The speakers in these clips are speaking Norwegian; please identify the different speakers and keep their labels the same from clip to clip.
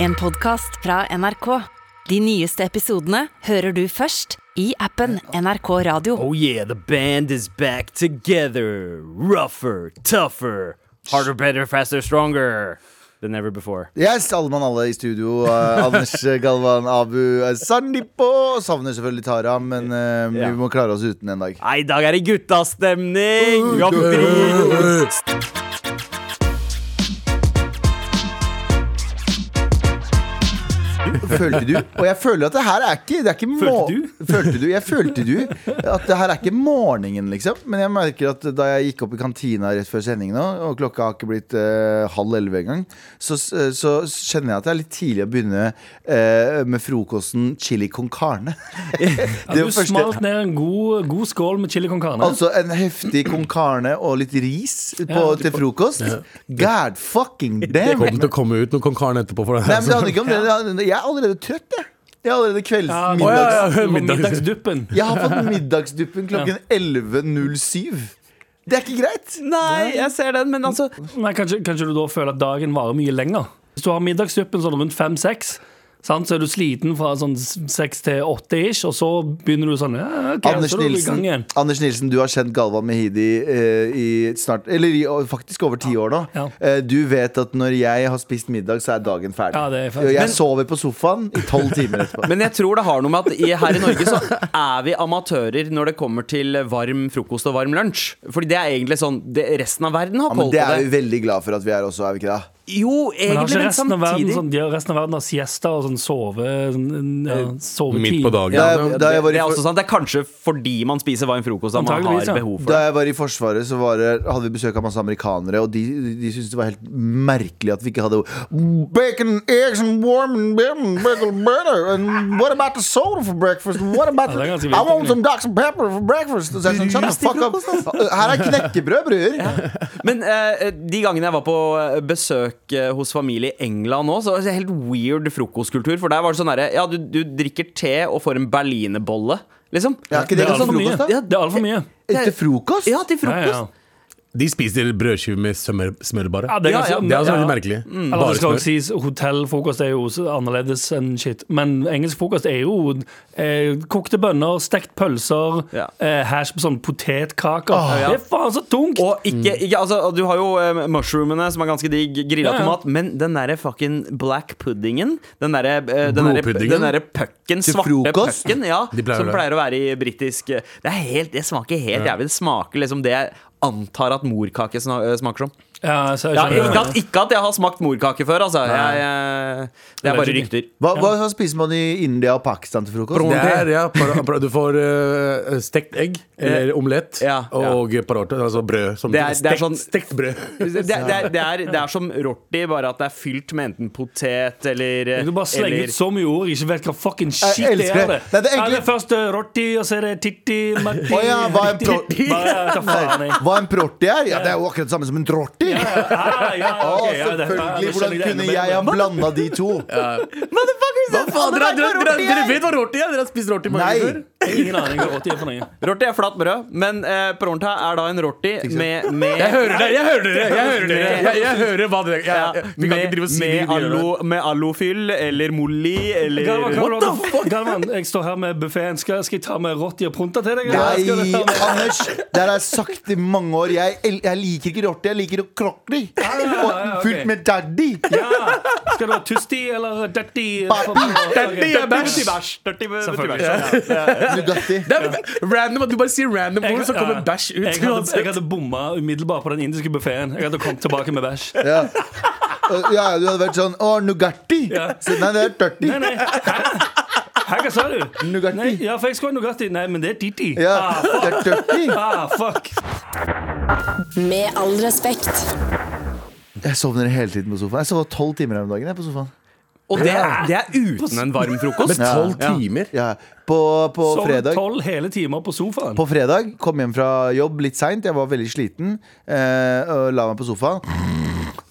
Speaker 1: En podcast fra NRK. De nyeste episodene hører du først i appen NRK Radio.
Speaker 2: Oh yeah, the band is back together. Rougher, tougher, harder, better, faster, stronger than ever before.
Speaker 3: Yes, alle mann alle i studio. Eh, Anders Galvan, Abu eh, Sandipo. Savner selvfølgelig Tara, men eh,
Speaker 2: Ja.
Speaker 3: vi må klare oss uten en dag.
Speaker 2: Nei, i dag er det guttastemning! Vi har fri!
Speaker 3: Følte du? Og jeg føler at det her er ikke, det er ikke må-
Speaker 2: Følte du?
Speaker 3: Følte du? Jeg følte du at det her er ikke morgenen, liksom. Men jeg merker at da jeg gikk opp i kantina rett før sending nå, og klokka har ikke blitt eh, halv elleve engang, så, eh, så kjenner jeg at det er litt tidlig å begynne eh, med frokosten chili con carne. det
Speaker 4: Du smalt ned en god, god skål med chili con carne.
Speaker 3: Altså en heftig kong Karne og litt ris på, til frokost. God fucking damn!
Speaker 5: kommer til å komme ut noen kong Karen etterpå. For det.
Speaker 3: Nei, men det handler ikke om det. det handler- Jeg er allerede trøtt, jeg. Jeg er allerede kvelds...
Speaker 4: Ja,
Speaker 3: middags...
Speaker 5: middags-
Speaker 4: middags-
Speaker 5: middags-
Speaker 4: middagsduppen.
Speaker 3: Jeg har fått middagsduppen klokken 11.07. Det er ikke greit!
Speaker 2: Nei, jeg ser den, men altså
Speaker 4: Nei, kanskje, kanskje du da føler at dagen varer mye lenger. Hvis du har middagsduppen sånn rundt fem-seks, sant, så er du sliten fra sånn seks til åtte-ish, og så begynner du sånn ja, ok,
Speaker 3: Anders
Speaker 4: så er du i gang
Speaker 3: Nilsen,
Speaker 4: igjen.
Speaker 3: Anders Nilsen, du har kjent Galvan Mehidi eh, i snart Eller i, faktisk over ti år nå.
Speaker 4: Ja.
Speaker 3: Eh, du vet at når jeg har spist middag, så er dagen ferdig.
Speaker 4: Ja, det er ferdig.
Speaker 3: Og jeg
Speaker 4: Men-
Speaker 3: sover på sofaen i tolv timer etterpå.
Speaker 2: Men jeg tror det har noe med at i, her i Norge så er vi amatører når det kommer til varm frokost og varm lunsj. Fordi det er egentlig sånn det, Resten av verden har
Speaker 3: Ja, men
Speaker 2: koll
Speaker 3: det
Speaker 2: på
Speaker 3: er vi
Speaker 2: det.
Speaker 3: veldig glad for at vi er også, er vi ikke det?
Speaker 2: Jo,
Speaker 4: Men har
Speaker 2: egentlig,
Speaker 4: ikke
Speaker 2: men
Speaker 4: resten av verden,
Speaker 2: samtidig.
Speaker 4: sånn, de har resten av verden har siesta og sånn sove sånn, ja, sovetid.
Speaker 5: Midt på dagen.
Speaker 3: Da
Speaker 5: Ja,
Speaker 3: jeg,
Speaker 2: Det,
Speaker 3: da jeg var
Speaker 2: det
Speaker 3: i
Speaker 2: er
Speaker 3: for-
Speaker 2: også sant. Det er kanskje fordi man spiser varm frokost at man
Speaker 4: Antageligvis,
Speaker 2: har
Speaker 4: ja.
Speaker 2: behov for
Speaker 3: Da
Speaker 2: det.
Speaker 3: jeg var i Forsvaret, så var det, hadde vi besøk av masse amerikanere, og de, de syntes det var helt merkelig at vi ikke hadde Bacon, eggs and warm and bacon, bacon butter And what about the soda for breakfast? And What about
Speaker 4: Ja, det er ganske
Speaker 3: I
Speaker 4: vilt,
Speaker 3: want
Speaker 4: egentlig.
Speaker 3: some ducks and pepper for breakfast Og så er jeg sånn, shut the fuck
Speaker 2: altså.
Speaker 3: up Uh, Her er knekkebrød, bror
Speaker 2: Men eh, de gangene jeg var på eh, besøk eh, hos familie i England nå, så var det helt weird frokostkultur. For der var det sånn herre Ja, du, du drikker te og får en berlinerbolle, liksom.
Speaker 3: Ja, ikke
Speaker 4: Det er
Speaker 3: ganske
Speaker 4: altfor mye.
Speaker 3: sånn frokost, da?
Speaker 4: Ja, Det er altfor mye.
Speaker 3: Etter frokost?
Speaker 2: Ja, til
Speaker 4: Ja,
Speaker 2: frokost.
Speaker 4: ja.
Speaker 5: De spiser brødskive med smør, smør bare.
Speaker 4: Ja, det er
Speaker 2: Ja,
Speaker 4: ganske,
Speaker 2: ja.
Speaker 5: Det er altså veldig
Speaker 4: ja.
Speaker 5: merkelig.
Speaker 3: Mm.
Speaker 4: Eller
Speaker 5: Bare
Speaker 4: det skal
Speaker 5: smør.
Speaker 4: også sies, Hotellfrokost er jo også annerledes enn shit. Men engelsk frokost er jo eh, kokte bønner, stekt pølser,
Speaker 2: Ja.
Speaker 4: eh, hash på sånn potetkaker.
Speaker 3: Ah,
Speaker 2: ja.
Speaker 4: Det er faen så tungt!
Speaker 2: Og ikke, ikke Altså, du har jo eh, mushroomene, som er ganske digg, grilla
Speaker 4: Ja, ja.
Speaker 2: tomat, men den derre fucking black puddingen, den derre eh, den derre-
Speaker 5: Blodpuddingen?
Speaker 2: den derre pucken,
Speaker 3: Til
Speaker 2: svarte
Speaker 3: frokost?
Speaker 2: pucken, ja,
Speaker 5: De pleier
Speaker 2: som
Speaker 5: det.
Speaker 2: pleier å være i britisk eh, Det er helt Det smaker helt jævlig. Det smaker liksom det jeg antar at morkake sna- eh, smaker som.
Speaker 4: Ja, så jeg
Speaker 2: Ja,
Speaker 4: skjønner.
Speaker 2: ikke, at, ikke at jeg har smakt morkake før, altså. Jeg, jeg, det er bare
Speaker 4: Allegedly.
Speaker 2: rykter.
Speaker 3: Hva, hva spiser man i India og Pakistan til frokost?
Speaker 5: Det er, ja, para, para, du får eh, stekt egg, eller omelett,
Speaker 2: Ja, ja.
Speaker 5: og parote. Altså brød. Som,
Speaker 2: Det er- det er
Speaker 5: stekt,
Speaker 2: sånn-
Speaker 5: stekt brød.
Speaker 2: Det, det, er, det, er, det er som rorti, bare at det er fylt med enten potet eller
Speaker 4: Du bare slenger
Speaker 2: eller-
Speaker 4: ut så mye ord, ikke vet hva fucking shit
Speaker 3: Jeg
Speaker 4: det
Speaker 3: elsker
Speaker 4: er.
Speaker 3: det. Nei, det er
Speaker 4: Ja,
Speaker 3: egentlig-
Speaker 4: det er først eh, rotti, og så er det titti, matti
Speaker 3: Å ja, hva er en pro-
Speaker 4: titti. Bare, Hva faen er
Speaker 3: Hva en protti er? Ja, det er jo akkurat det samme som en trotti
Speaker 4: Ah, ja,
Speaker 3: Å,
Speaker 4: ok, ja, det- ja,
Speaker 3: selvfølgelig,
Speaker 4: nå skjønner
Speaker 3: hvordan
Speaker 4: jeg det enda
Speaker 3: kunne
Speaker 4: bedre.
Speaker 3: jeg ha blandet de to?
Speaker 5: Hva faen, dere, dere, dere, dere vet hva rorti er? Dere har spist rorti mange
Speaker 3: Nei.
Speaker 5: ganger før?
Speaker 4: Ingen aning hva rotti er for noe.
Speaker 2: Rorti er flatt brød, men eh, pronta er da en rorti med, med
Speaker 5: Jeg hører dere! Jeg hører dere! Jeg hører, dere. Jeg, jeg hører hva dere
Speaker 2: ja,
Speaker 5: jeg, jeg, Vi kan ikke
Speaker 2: med,
Speaker 5: drive og si
Speaker 2: med,
Speaker 5: det.
Speaker 2: alo, med alofyll eller molly eller
Speaker 4: Galvan,
Speaker 2: What
Speaker 4: hva vil du ha til- Galvan, jeg står her med buffeen. Skal, skal jeg ta med rotti og pronta til deg? eller? Skal
Speaker 3: Nei,
Speaker 4: jeg ta med-
Speaker 3: Anders, det har jeg sagt i mange år. Jeg, el- jeg liker ikke rotti, jeg liker krokli. Og
Speaker 4: ja, ok.
Speaker 3: Fylt med daddy.
Speaker 4: Ja. Skal du ha tusti eller dirty?
Speaker 5: Dirty
Speaker 2: the-
Speaker 5: er bæsj!
Speaker 2: bæsj, dirty bæsj,
Speaker 4: Selvfølgelig.
Speaker 2: bæsj.
Speaker 3: Nugatti.
Speaker 5: Det er random at du bare sier random ord, så kommer bæsj ut.
Speaker 4: Jeg hadde, jeg hadde bomma umiddelbart på den indiske buffeen. Jeg hadde kommet tilbake med bæsj.
Speaker 3: Ja. Og- Ja, du hadde vært sånn Å, Nugatti!
Speaker 4: Ja.
Speaker 3: Så, nei, det er dirty.
Speaker 4: Nei, nei. Hæ? Hæ, hva sa du?
Speaker 3: Nugatti.
Speaker 4: Nei, ja, for jeg skulle ha Nugatti. Nei, men det er Didi.
Speaker 3: Ja,
Speaker 4: Ah,
Speaker 3: det er dirty.
Speaker 4: ah, fuck.
Speaker 1: Med all respekt.
Speaker 3: Jeg sovner hele tiden på sofaen. Jeg sov tolv timer her om dagen. Jeg, på sofaen
Speaker 2: Og det er, det er uten en varm frokost.
Speaker 5: Med tolv
Speaker 2: Ja.
Speaker 5: timer.
Speaker 3: ja. På, på
Speaker 4: Sov
Speaker 3: fredag
Speaker 4: tolv hele timer på sofaen.
Speaker 3: På fredag kom hjem fra jobb litt seint. Jeg var veldig sliten. Eh, og la meg på sofaen.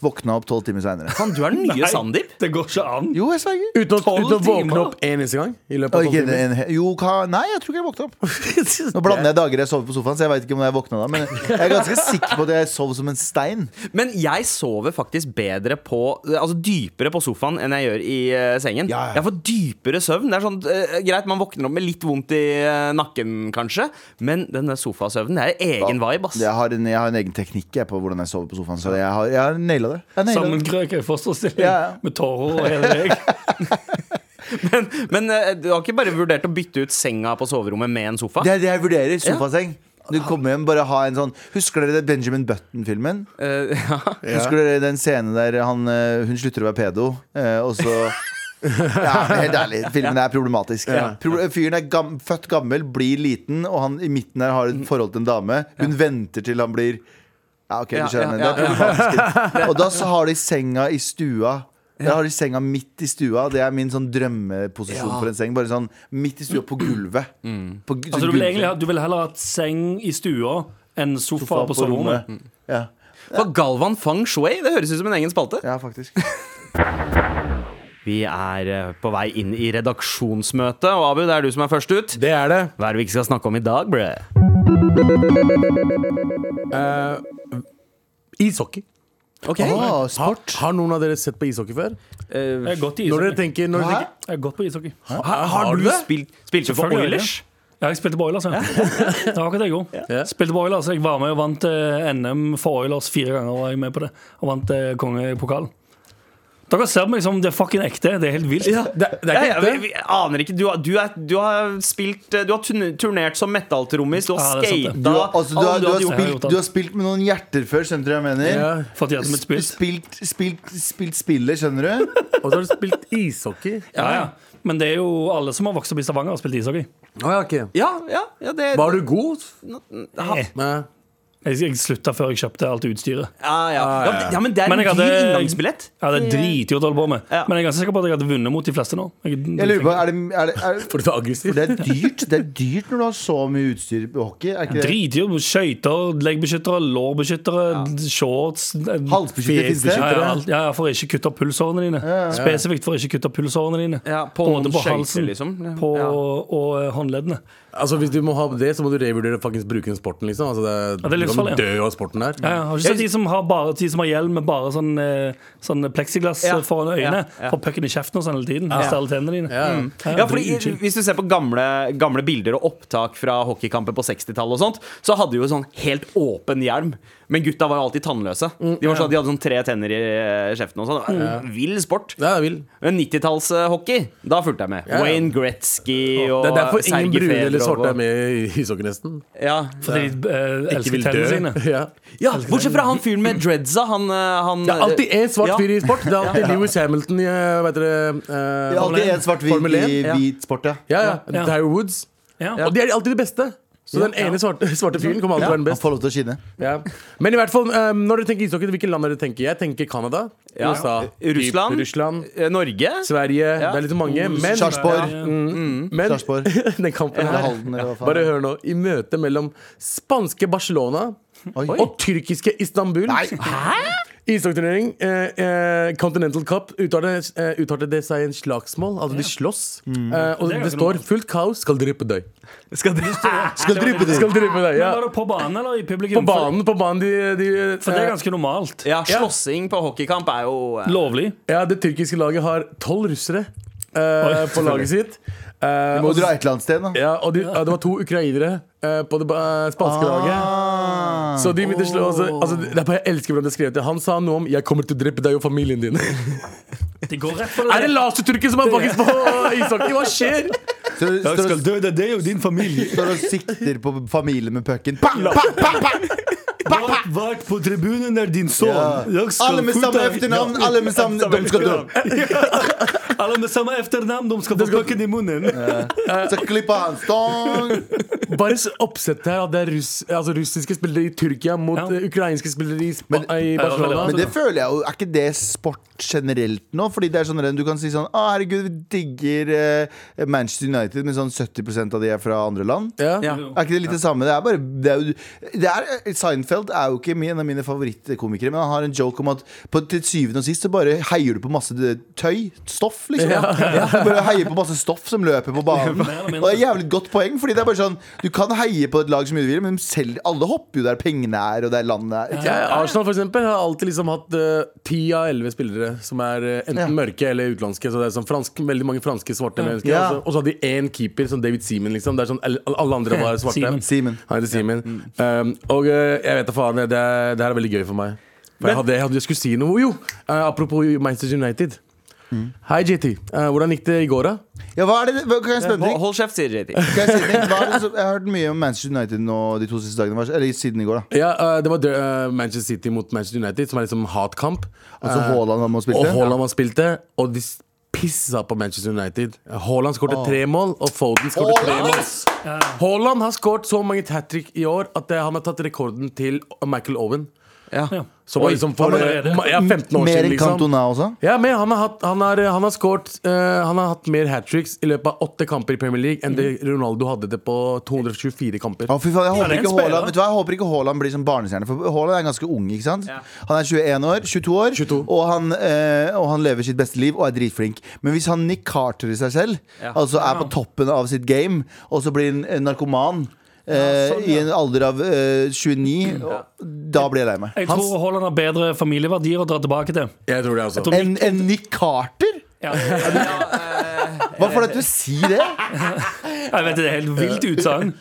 Speaker 3: Våkna opp tolv timer seinere.
Speaker 2: Faen, du er den nye
Speaker 4: Nei,
Speaker 2: Sandeep.
Speaker 4: Det går ikke an.
Speaker 3: Jo, jeg sverger.
Speaker 5: Uten å,
Speaker 4: Tolv
Speaker 5: uten å våkne
Speaker 4: timer?
Speaker 5: opp en eneste gang i løpet
Speaker 3: Og
Speaker 5: av
Speaker 3: ikke
Speaker 5: tolv
Speaker 3: en,
Speaker 5: timer?
Speaker 3: en, jo, hva, nei, jeg tror ikke jeg våkna opp. Nå blander jeg dager jeg sover på sofaen, så jeg veit ikke om jeg våkna da. Men jeg er ganske sikker på at jeg sov som en stein.
Speaker 2: Men jeg sover faktisk bedre på Altså dypere på sofaen enn jeg gjør i eh, sengen.
Speaker 3: Ja, ja.
Speaker 2: Jeg får dypere søvn. Det er sånn, eh, Greit, man våkner opp med litt vondt i eh, nakken, kanskje, men denne sofasøvnen det er egen vibe, ass.
Speaker 3: Jeg har en, jeg har en egen teknikk jeg, på hvordan jeg sover på sofaen, så jeg har, jeg har naila det. Jeg har nailet det.
Speaker 4: Sammenkrøker i fosterstilling
Speaker 3: Ja, ja.
Speaker 4: med tårer og hele deg.
Speaker 2: Men, men eh, du har ikke bare vurdert å bytte ut senga på soverommet med en sofa?
Speaker 3: Det er det jeg vurderer. Sofaseng. Du kommer hjem, bare ha en sånn Husker dere Benjamin Button-filmen?
Speaker 2: Eh, ja.
Speaker 3: Husker dere den scenen der han, eh, hun slutter å være pedo, eh, og så ja, men Helt ærlig, filmen er problematisk. Pro fyren er gam født gammel, blir liten, og han i midten her har et forhold til en dame. Hun venter til han blir Ja, OK, du
Speaker 2: Ja,
Speaker 3: skjønner.
Speaker 2: ja,
Speaker 3: Det er problematisk. Og da så har de senga i stua. Der har de senga midt i stua. Det er min sånn drømmeposisjon for en seng. Bare sånn midt i stua, på gulvet. På gu-
Speaker 4: Altså, du, vil
Speaker 3: gulvet.
Speaker 4: egentlig, ha- du vil heller ha et seng i stua enn sofa,
Speaker 3: Sofa
Speaker 4: på soverommet.
Speaker 3: Mm. Ja.
Speaker 2: For Galvan Fang Shui, det høres ut som en egen spalte.
Speaker 3: ja, faktisk.
Speaker 2: Vi er eh, på vei inn i redaksjonsmøtet, og Abu, det er du som er først ut.
Speaker 5: Det er det.
Speaker 2: Hva er det vi ikke skal snakke om i dag, bre?
Speaker 5: Eh, Ishockey.
Speaker 2: Ok.
Speaker 3: Åh,
Speaker 5: Har,
Speaker 3: Ah, sport.
Speaker 5: har noen av dere sett på ishockey før?
Speaker 4: Jeg har gått i
Speaker 5: Når dere
Speaker 4: ishockey.
Speaker 5: tenker, når dere
Speaker 3: Hæ?
Speaker 5: tenker
Speaker 4: Jeg har gått på ishockey. Ja,
Speaker 5: har, har du det?
Speaker 2: spilt, spilte for
Speaker 4: Selvfølgelig,
Speaker 2: Oilers?
Speaker 4: jeg spilte på Oilers, ja. Det var akkurat det jeg gjorde. Spilte på Oilers, Jeg var med og vant eh, NM for Oilers fire ganger. var jeg med på det Og vant eh, kongepokalen. Dere ser på meg som det er fucking ekte. Det er helt vilt.
Speaker 5: Det, det er
Speaker 2: Ja,
Speaker 5: ikke
Speaker 2: jeg,
Speaker 5: det.
Speaker 2: jeg, jeg aner ikke. Du, har- du, er, du har spilt eh, Du har turn- turnert som metal-trommis, du har
Speaker 4: Ja, det er sant,
Speaker 2: skata
Speaker 4: det.
Speaker 3: Du har, altså, du
Speaker 2: alle
Speaker 3: har, du har,
Speaker 2: hadde gjort.
Speaker 4: gjort
Speaker 3: spilt,
Speaker 4: alt.
Speaker 3: du har spilt med noen hjerter før, skjønner du hva jeg mener?
Speaker 5: Ja.
Speaker 4: Fått hjertet mitt
Speaker 3: Spilt,
Speaker 4: spilt.
Speaker 3: spilt, spilt, spillet, skjønner du?
Speaker 5: Og så har du spilt ishockey.
Speaker 4: Ja, ja. Men det er jo alle som har vokst opp i Stavanger, har spilt ishockey.
Speaker 5: Å, Ah, ja, ok.
Speaker 2: Ja, ja, ja, det
Speaker 5: Var du god?
Speaker 2: ja,
Speaker 5: Nei.
Speaker 4: Jeg, jeg slutta før jeg kjøpte alt utstyret.
Speaker 2: ja, ja. ja, men- ja, men det er
Speaker 4: Men
Speaker 2: en
Speaker 4: jeg
Speaker 2: dyr
Speaker 4: hadde-
Speaker 2: inngangsbillett.
Speaker 4: Ja, Det er dritdyrt å holde på med.
Speaker 2: Ja.
Speaker 4: Men jeg er ganske sikker på at jeg hadde vunnet mot de fleste nå. Jeg,
Speaker 3: Jeg lurer på, er det, er det, er det
Speaker 5: For du er aggressiv.
Speaker 3: det er dyrt Det er dyrt når du har så mye utstyr på hockey. Er ikke det?
Speaker 4: Dritdyr. Skøyter, leggbeskyttere, lårbeskyttere, shorts eh,
Speaker 3: Halsbeskytter finnes det.
Speaker 4: Ja, ja, alt- ja, ja, for å ikke kutte opp pulsårene dine. Spesifikt for å ikke kutte opp pulsårene dine.
Speaker 2: Ja, på
Speaker 4: Både
Speaker 2: noen
Speaker 4: på
Speaker 2: skøyter,
Speaker 4: halsen
Speaker 2: liksom.
Speaker 4: på,
Speaker 2: Ja.
Speaker 4: og eh, håndleddene.
Speaker 5: Altså, hvis du må ha det, så må du revurdere faktisk bruke den sporten, liksom. Altså, det,
Speaker 4: Ja, det er
Speaker 5: du kan
Speaker 4: livsfarlig, ja.
Speaker 5: dø av sporten der.
Speaker 4: Ja, ja, har ikke sett de som har, bare, de som har hjelm med bare sånn, eh, sånn pleksiglass
Speaker 2: Ja,
Speaker 4: eh, foran øynene?
Speaker 2: ja, ja.
Speaker 4: Får pucken i kjeften og sånn hele tiden. Mister alle tennene dine.
Speaker 5: Ja.
Speaker 2: Ja, fordi
Speaker 4: dritchill.
Speaker 2: Hvis du ser på gamle, gamle bilder og opptak fra hockeykamper på 60-tallet, og sånt, så hadde de jo sånn helt åpen hjelm. Men gutta var jo alltid tannløse. De, var sånn, de hadde sånn tre tenner i eh, kjeften. og sånn Eh, Vill sport.
Speaker 5: Ja, jeg vil.
Speaker 2: Men 90-tallshockey, da fulgte jeg med.
Speaker 5: Ja, ja.
Speaker 2: Wayne Gretzky og
Speaker 5: Det er derfor ingen
Speaker 2: Sergej
Speaker 5: brune eller
Speaker 2: Fedorov
Speaker 5: svarte
Speaker 2: og-
Speaker 5: er med i ishockey, nesten.
Speaker 2: Ja.
Speaker 4: Fordi de eh,
Speaker 5: Ikke
Speaker 4: elsker
Speaker 5: vil dø.
Speaker 4: tennene sine.
Speaker 5: Ja.
Speaker 2: ja, bortsett fra han fyren med dreadsa. Han, eh, han
Speaker 5: Det er alltid én svart
Speaker 2: Ja.
Speaker 5: fyr i sport. Det er alltid Lewis Hamilton i eh, Vet dere eh,
Speaker 3: Det er alltid en svart-hvit
Speaker 5: Formel 1.
Speaker 3: i
Speaker 2: ja.
Speaker 3: hvit sport, ja.
Speaker 5: Ja, ja.
Speaker 4: Ja.
Speaker 5: Tiger Woods.
Speaker 4: Ja.
Speaker 5: Og de er alltid de beste. Så den ene svarte, svarte fyren kommer alltid til å
Speaker 3: Han
Speaker 5: være den beste.
Speaker 3: får lov til å skinne.
Speaker 5: Ja. Men i hvert fall, eh, når dere tenker ishockey, hvilke land dere tenker? Jeg tenker Canada,
Speaker 2: Ja.
Speaker 5: USA,
Speaker 2: Eh, Russland.
Speaker 5: Typ Russland
Speaker 2: Eh, Norge.
Speaker 5: Sverige.
Speaker 2: Ja. Oh,
Speaker 5: Det er litt mange. Men,
Speaker 3: Sarpsborg.
Speaker 4: Mm.
Speaker 5: men
Speaker 3: Sarpsborg.
Speaker 5: den kampen
Speaker 3: Eller
Speaker 5: her
Speaker 3: Halden, eller hva faen.
Speaker 5: Bare hør nå. I møtet mellom spanske Barcelona
Speaker 3: Oi.
Speaker 5: og tyrkiske Istanbul
Speaker 3: Nei.
Speaker 5: Ishockeyturnering. Eh, eh, Continental Cup uttalte, eh, uttalte det seg i en slagsmål. Altså, de slåss. Eh, og
Speaker 4: Det er
Speaker 5: det,
Speaker 4: jo ikke
Speaker 5: står 'fullt kaos skal drepe deg'.
Speaker 2: Skal de
Speaker 3: Skal dryppe det.
Speaker 5: Skal drepe deg ja.
Speaker 4: Men var det på banen eller i publikum?
Speaker 5: På banen, på banen de, de eh,
Speaker 4: For, for det er ganske normalt.
Speaker 2: Ja, slåssing på hockeykamp er jo eh,
Speaker 4: Lovlig.
Speaker 5: Ja, det tyrkiske laget har tolv russere eh, på laget sitt. Eh,
Speaker 3: Du må
Speaker 5: og-
Speaker 3: dra et eller annet sted, da.
Speaker 5: ja, og de, ja, det var to ukrainere eh, på det eh, spanske laget.
Speaker 3: Ah.
Speaker 5: Så de begynte å slå altså, altså, det er bare, Jeg elsker hvordan de skrev det. Han sa noe om 'jeg kommer til å drepe deg og familien din'.
Speaker 4: De går rett for
Speaker 5: er det laserturker som er faktisk på ishockey? Hva skjer?
Speaker 3: Så du står og-
Speaker 4: dø, det er deg og din familie.
Speaker 3: står og sikter på familien med pucken. Pa, pa, pa, pa.
Speaker 4: Vakt på tribunen er din sønn.
Speaker 3: Ja. Alle med samme etternavn, alle med samme De skal dø.
Speaker 4: Alle med samme etternavn, de skal få pucken i munnen.
Speaker 3: Så klipper han stong.
Speaker 5: Bare s- oppsettet her at det er russ, altså russiske spillere i Tyrkia mot
Speaker 4: Ja.
Speaker 5: eh, ukrainske spillere i, Spa- i Barcelona.
Speaker 4: Ja,
Speaker 3: Men det føler jeg jo, er ikke det sport generelt nå? Fordi det er sånn, Du kan si sånn Å, herregud, vi digger eh, Manchester United, men sånn 70 av de er fra andre land.
Speaker 5: ja.
Speaker 2: Ja.
Speaker 3: Er ikke det litt det samme? Det er bare Det er, jo, det er Seinfeld Seinfeld er jo ikke min- en av mine favorittkomikere, men han har en joke om at på, til syvende og sist så bare heier du på masse det- tøy. Stoff, liksom. Du Bare heier på masse stoff som løper på banen.
Speaker 4: Mer eller mindre.
Speaker 3: Og det er jævlig et godt poeng, fordi det er bare sånn Du kan heie på et lag så mye du vil, men selv alle hopper jo der pengene er, og der landet er. Ikke?
Speaker 5: Ja, Arsenal for eksempel, har alltid liksom hatt ti av elleve spillere som er eh, enten
Speaker 3: Ja.
Speaker 5: mørke eller utenlandske. Så det er sånn fransk, veldig mange franske svarte mennesker.
Speaker 3: Ja.
Speaker 5: Og så- Og så hadde de én keeper, som David Seaman. Liksom. Det er sånn, alle- alle andre var svarte.
Speaker 4: Seaman.
Speaker 3: Seaman. Mm.
Speaker 5: Han heter Seaman. Um, og eh, jeg vet da faen, det, er- det her er veldig gøy for meg. For jeg, hadde, jeg, hadde, jeg skulle si noe, jo. eh, apropos Manchester United.
Speaker 3: Mm.
Speaker 5: Hei, JT. Eh, hvordan gikk det i går, da?
Speaker 3: Ja, hva er det hva, Kan jeg spørre om
Speaker 2: Hold,
Speaker 3: ting?
Speaker 2: hold kjeft, sier JT.
Speaker 3: Kan jeg, si en ting? Hva er det som- jeg har hørt mye om Manchester United nå de to siste dagene. hva- Eller siden i går, da.
Speaker 5: Ja, eh, Det var eh, Manchester City mot Manchester United, som er liksom hatkamp.
Speaker 3: Altså
Speaker 5: Eh,
Speaker 3: Haaland var med og spilte.
Speaker 5: Og Haaland var spilte, og de pissa på Manchester United. Haaland skårte tre mål, og Foden skårte tre mål. Haaland har skåret så mange hat trick i år at eh, han har tatt rekorden til Michael Owen.
Speaker 2: Ja.
Speaker 5: Som var liksom for
Speaker 4: han
Speaker 5: eh,
Speaker 4: allerede?
Speaker 5: ma- ja, 15 år
Speaker 3: Mer
Speaker 5: siden,
Speaker 3: enn
Speaker 5: liksom.
Speaker 3: Cantona også?
Speaker 5: Ja, men han har, hatt, han har, han har skårt eh, Han har hatt mer hat tricks i løpet av åtte kamper i Premier League enn det Ronaldo hadde det på 224 kamper.
Speaker 3: Å, fy faen, jeg håper,
Speaker 4: det er en
Speaker 3: ikke
Speaker 4: spiller,
Speaker 3: Haaland,
Speaker 4: da.
Speaker 3: vet du hva? jeg håper ikke Haaland blir som barnestjerne. For Haaland er ganske ung. ikke sant? Han er 21 år, 22 år
Speaker 5: 22.
Speaker 3: Og, han, eh, og han lever sitt beste liv og er dritflink. Men hvis han Nick Carter i seg selv, altså er på toppen av sitt game, og så blir han eh, narkoman eh,
Speaker 4: sånn, ja.
Speaker 3: i en alder av eh, 29, og, da blir jeg lei meg.
Speaker 4: Jeg tror Haaland har bedre familieverdier å dra tilbake til.
Speaker 5: Jeg tror det, altså.
Speaker 4: tror-
Speaker 3: En, en Nick Carter?
Speaker 4: Ja.
Speaker 3: Hva får deg til å si det?
Speaker 4: Jeg vet, Det er helt vilt utsagn.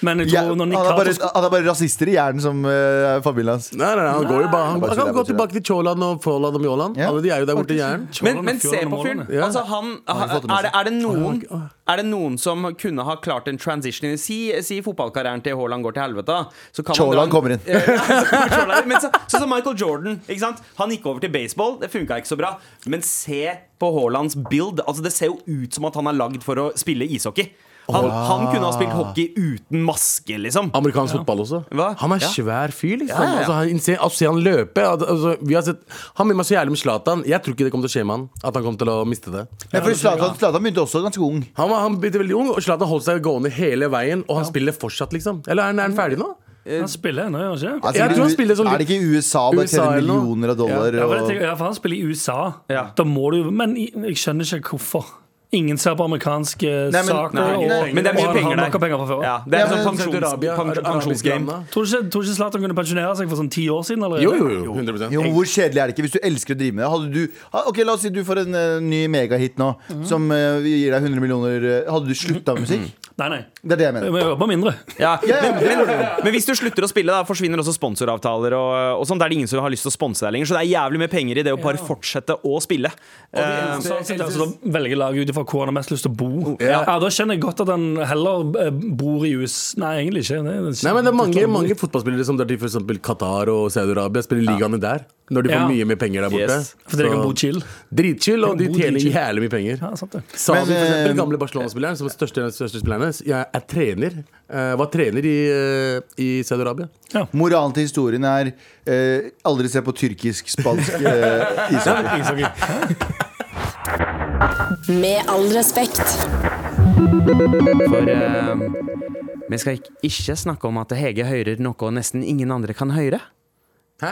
Speaker 4: Men jeg
Speaker 3: Jeg,
Speaker 4: tror
Speaker 3: han,
Speaker 4: når Nick
Speaker 3: er bare,
Speaker 4: Carter
Speaker 3: han er bare rasister i hjernen som eh, er familien hans.
Speaker 5: Nei, nei, nei, han går jo bare Han,
Speaker 3: Bare tuller,
Speaker 5: han kan gå
Speaker 3: bare tuller.
Speaker 5: tilbake til Tjoland og Froland og Mjåland.
Speaker 3: Ja.
Speaker 5: Alle de er jo der borte i hjernen.
Speaker 2: Men, men se på fyren.
Speaker 4: Målene.
Speaker 5: Ja.
Speaker 2: Altså, han,
Speaker 3: har fått det med
Speaker 2: er, det, er, det noen, er det noen som kunne ha klart en transition? Si, si fotballkarrieren til Haaland går til helvete. da. Så kan man
Speaker 3: Haaland
Speaker 2: dra en-
Speaker 3: kommer inn.
Speaker 2: Ja, så kommer Haaland inn. Men så- Sånn som Michael Jordan. Ikke sant? Han gikk over til baseball. Det funka ikke så bra. Men se på Haalands build. Altså, det ser jo ut som at han er lagd for å spille ishockey. Han, han kunne ha spilt hockey uten maske, liksom.
Speaker 5: Amerikansk fotball også.
Speaker 2: Hva?
Speaker 5: Han er
Speaker 2: Ja.
Speaker 5: svær fyr, liksom.
Speaker 2: Ja, ja, ja.
Speaker 5: Altså, han, innser- altså, se han løper. Al- Altså, vi har sett, han minner meg så jævlig om Zlatan. Jeg tror ikke det kommer til å skje med han. At han kommer til å miste det.
Speaker 3: Ja, for Zlatan Zlatan begynte også ganske ung.
Speaker 5: Han, var, han begynte veldig ung, og Zlatan holdt seg gående hele veien. Og han spiller fortsatt, liksom. Eller er han, er han ferdig nå?
Speaker 4: Han spiller ennå, gjør han ikke?
Speaker 3: Altså,
Speaker 5: Jeg
Speaker 3: er det
Speaker 5: tror
Speaker 3: U-
Speaker 5: han spiller som-
Speaker 3: Er det ikke i USA hvor de
Speaker 5: USA
Speaker 3: tjener
Speaker 5: eller noe?
Speaker 3: millioner av dollar?
Speaker 4: Ja, for det
Speaker 3: og-
Speaker 4: tenker- ja, for han spiller i USA.
Speaker 2: Ja.
Speaker 4: Da må du Men i- jeg skjønner ikke hvorfor. Ingen ser på amerikansk eh,
Speaker 3: Nei, men-
Speaker 4: saker.
Speaker 2: Nei,
Speaker 4: og,
Speaker 3: nei,
Speaker 2: men det er mye
Speaker 4: og han
Speaker 2: penger
Speaker 4: har
Speaker 2: der.
Speaker 4: nok av penger fra før.
Speaker 2: Ja, det er
Speaker 3: Ja,
Speaker 2: sånn
Speaker 3: men-
Speaker 2: pensjons- pensjons- pensjonsgame.
Speaker 4: Tror du ikke, tror du ikke Zlatan kunne pensjonere seg for sånn ti år siden allerede?
Speaker 5: Jo, jo, jo. 100
Speaker 3: Jo, men Hvor kjedelig er det ikke hvis du elsker å drive med det? Hadde du, ha- ok, La oss si du får en eh, ny megahit nå som eh, gir deg 100 millioner. eh, hadde du slutta med musikk?
Speaker 4: Nei, nei.
Speaker 3: Det er det jeg
Speaker 4: Vi
Speaker 3: mener.
Speaker 4: må jobbe mindre.
Speaker 2: Ja.
Speaker 3: Ja, ja,
Speaker 2: Men,
Speaker 3: det
Speaker 2: men, men hvis du slutter å spille, da forsvinner også sponsoravtaler. Og, og sånn, Det er det ingen som har lyst til å sponse deg lenger. Så det er jævlig mye penger i det å bare fortsette å spille. Eh,
Speaker 4: Så, sånn sett, altså, da velger laget ut ifra hvor han har mest lyst til å bo. Ja.
Speaker 5: Ja.
Speaker 4: Da skjønner jeg godt at han heller eh, bor i US Nei, egentlig ikke. Det, det,
Speaker 5: Nei, men det er mange, mange fotballspillere som drar til for eksempel Qatar og Saudi-Arabia. Spiller ligaene der. Når de får
Speaker 4: Ja.
Speaker 5: mye mer penger der borte.
Speaker 2: Yes.
Speaker 4: Fordi jeg kan
Speaker 5: Så-
Speaker 4: bo chill.
Speaker 5: Dritchill, og
Speaker 4: De
Speaker 5: de
Speaker 4: kan bo
Speaker 5: tjener
Speaker 4: dritchill.
Speaker 5: jævlig mye penger.
Speaker 4: Ja, sant det.
Speaker 5: Savi, for
Speaker 3: Men,
Speaker 5: eksempel,
Speaker 3: eh,
Speaker 5: den gamle Barcelona-spilleren som er største, største spillerne, s- jeg er trener. eh, var trener i, eh, i Saudi-Arabia.
Speaker 3: Moralen til historien er eh, aldri se på tyrkisk-spansk eh, ishockey.
Speaker 6: Med all respekt.
Speaker 2: For eh, vi skal ikke, ikke snakke om at Hege hører noe nesten ingen andre kan høre.
Speaker 5: Hæ?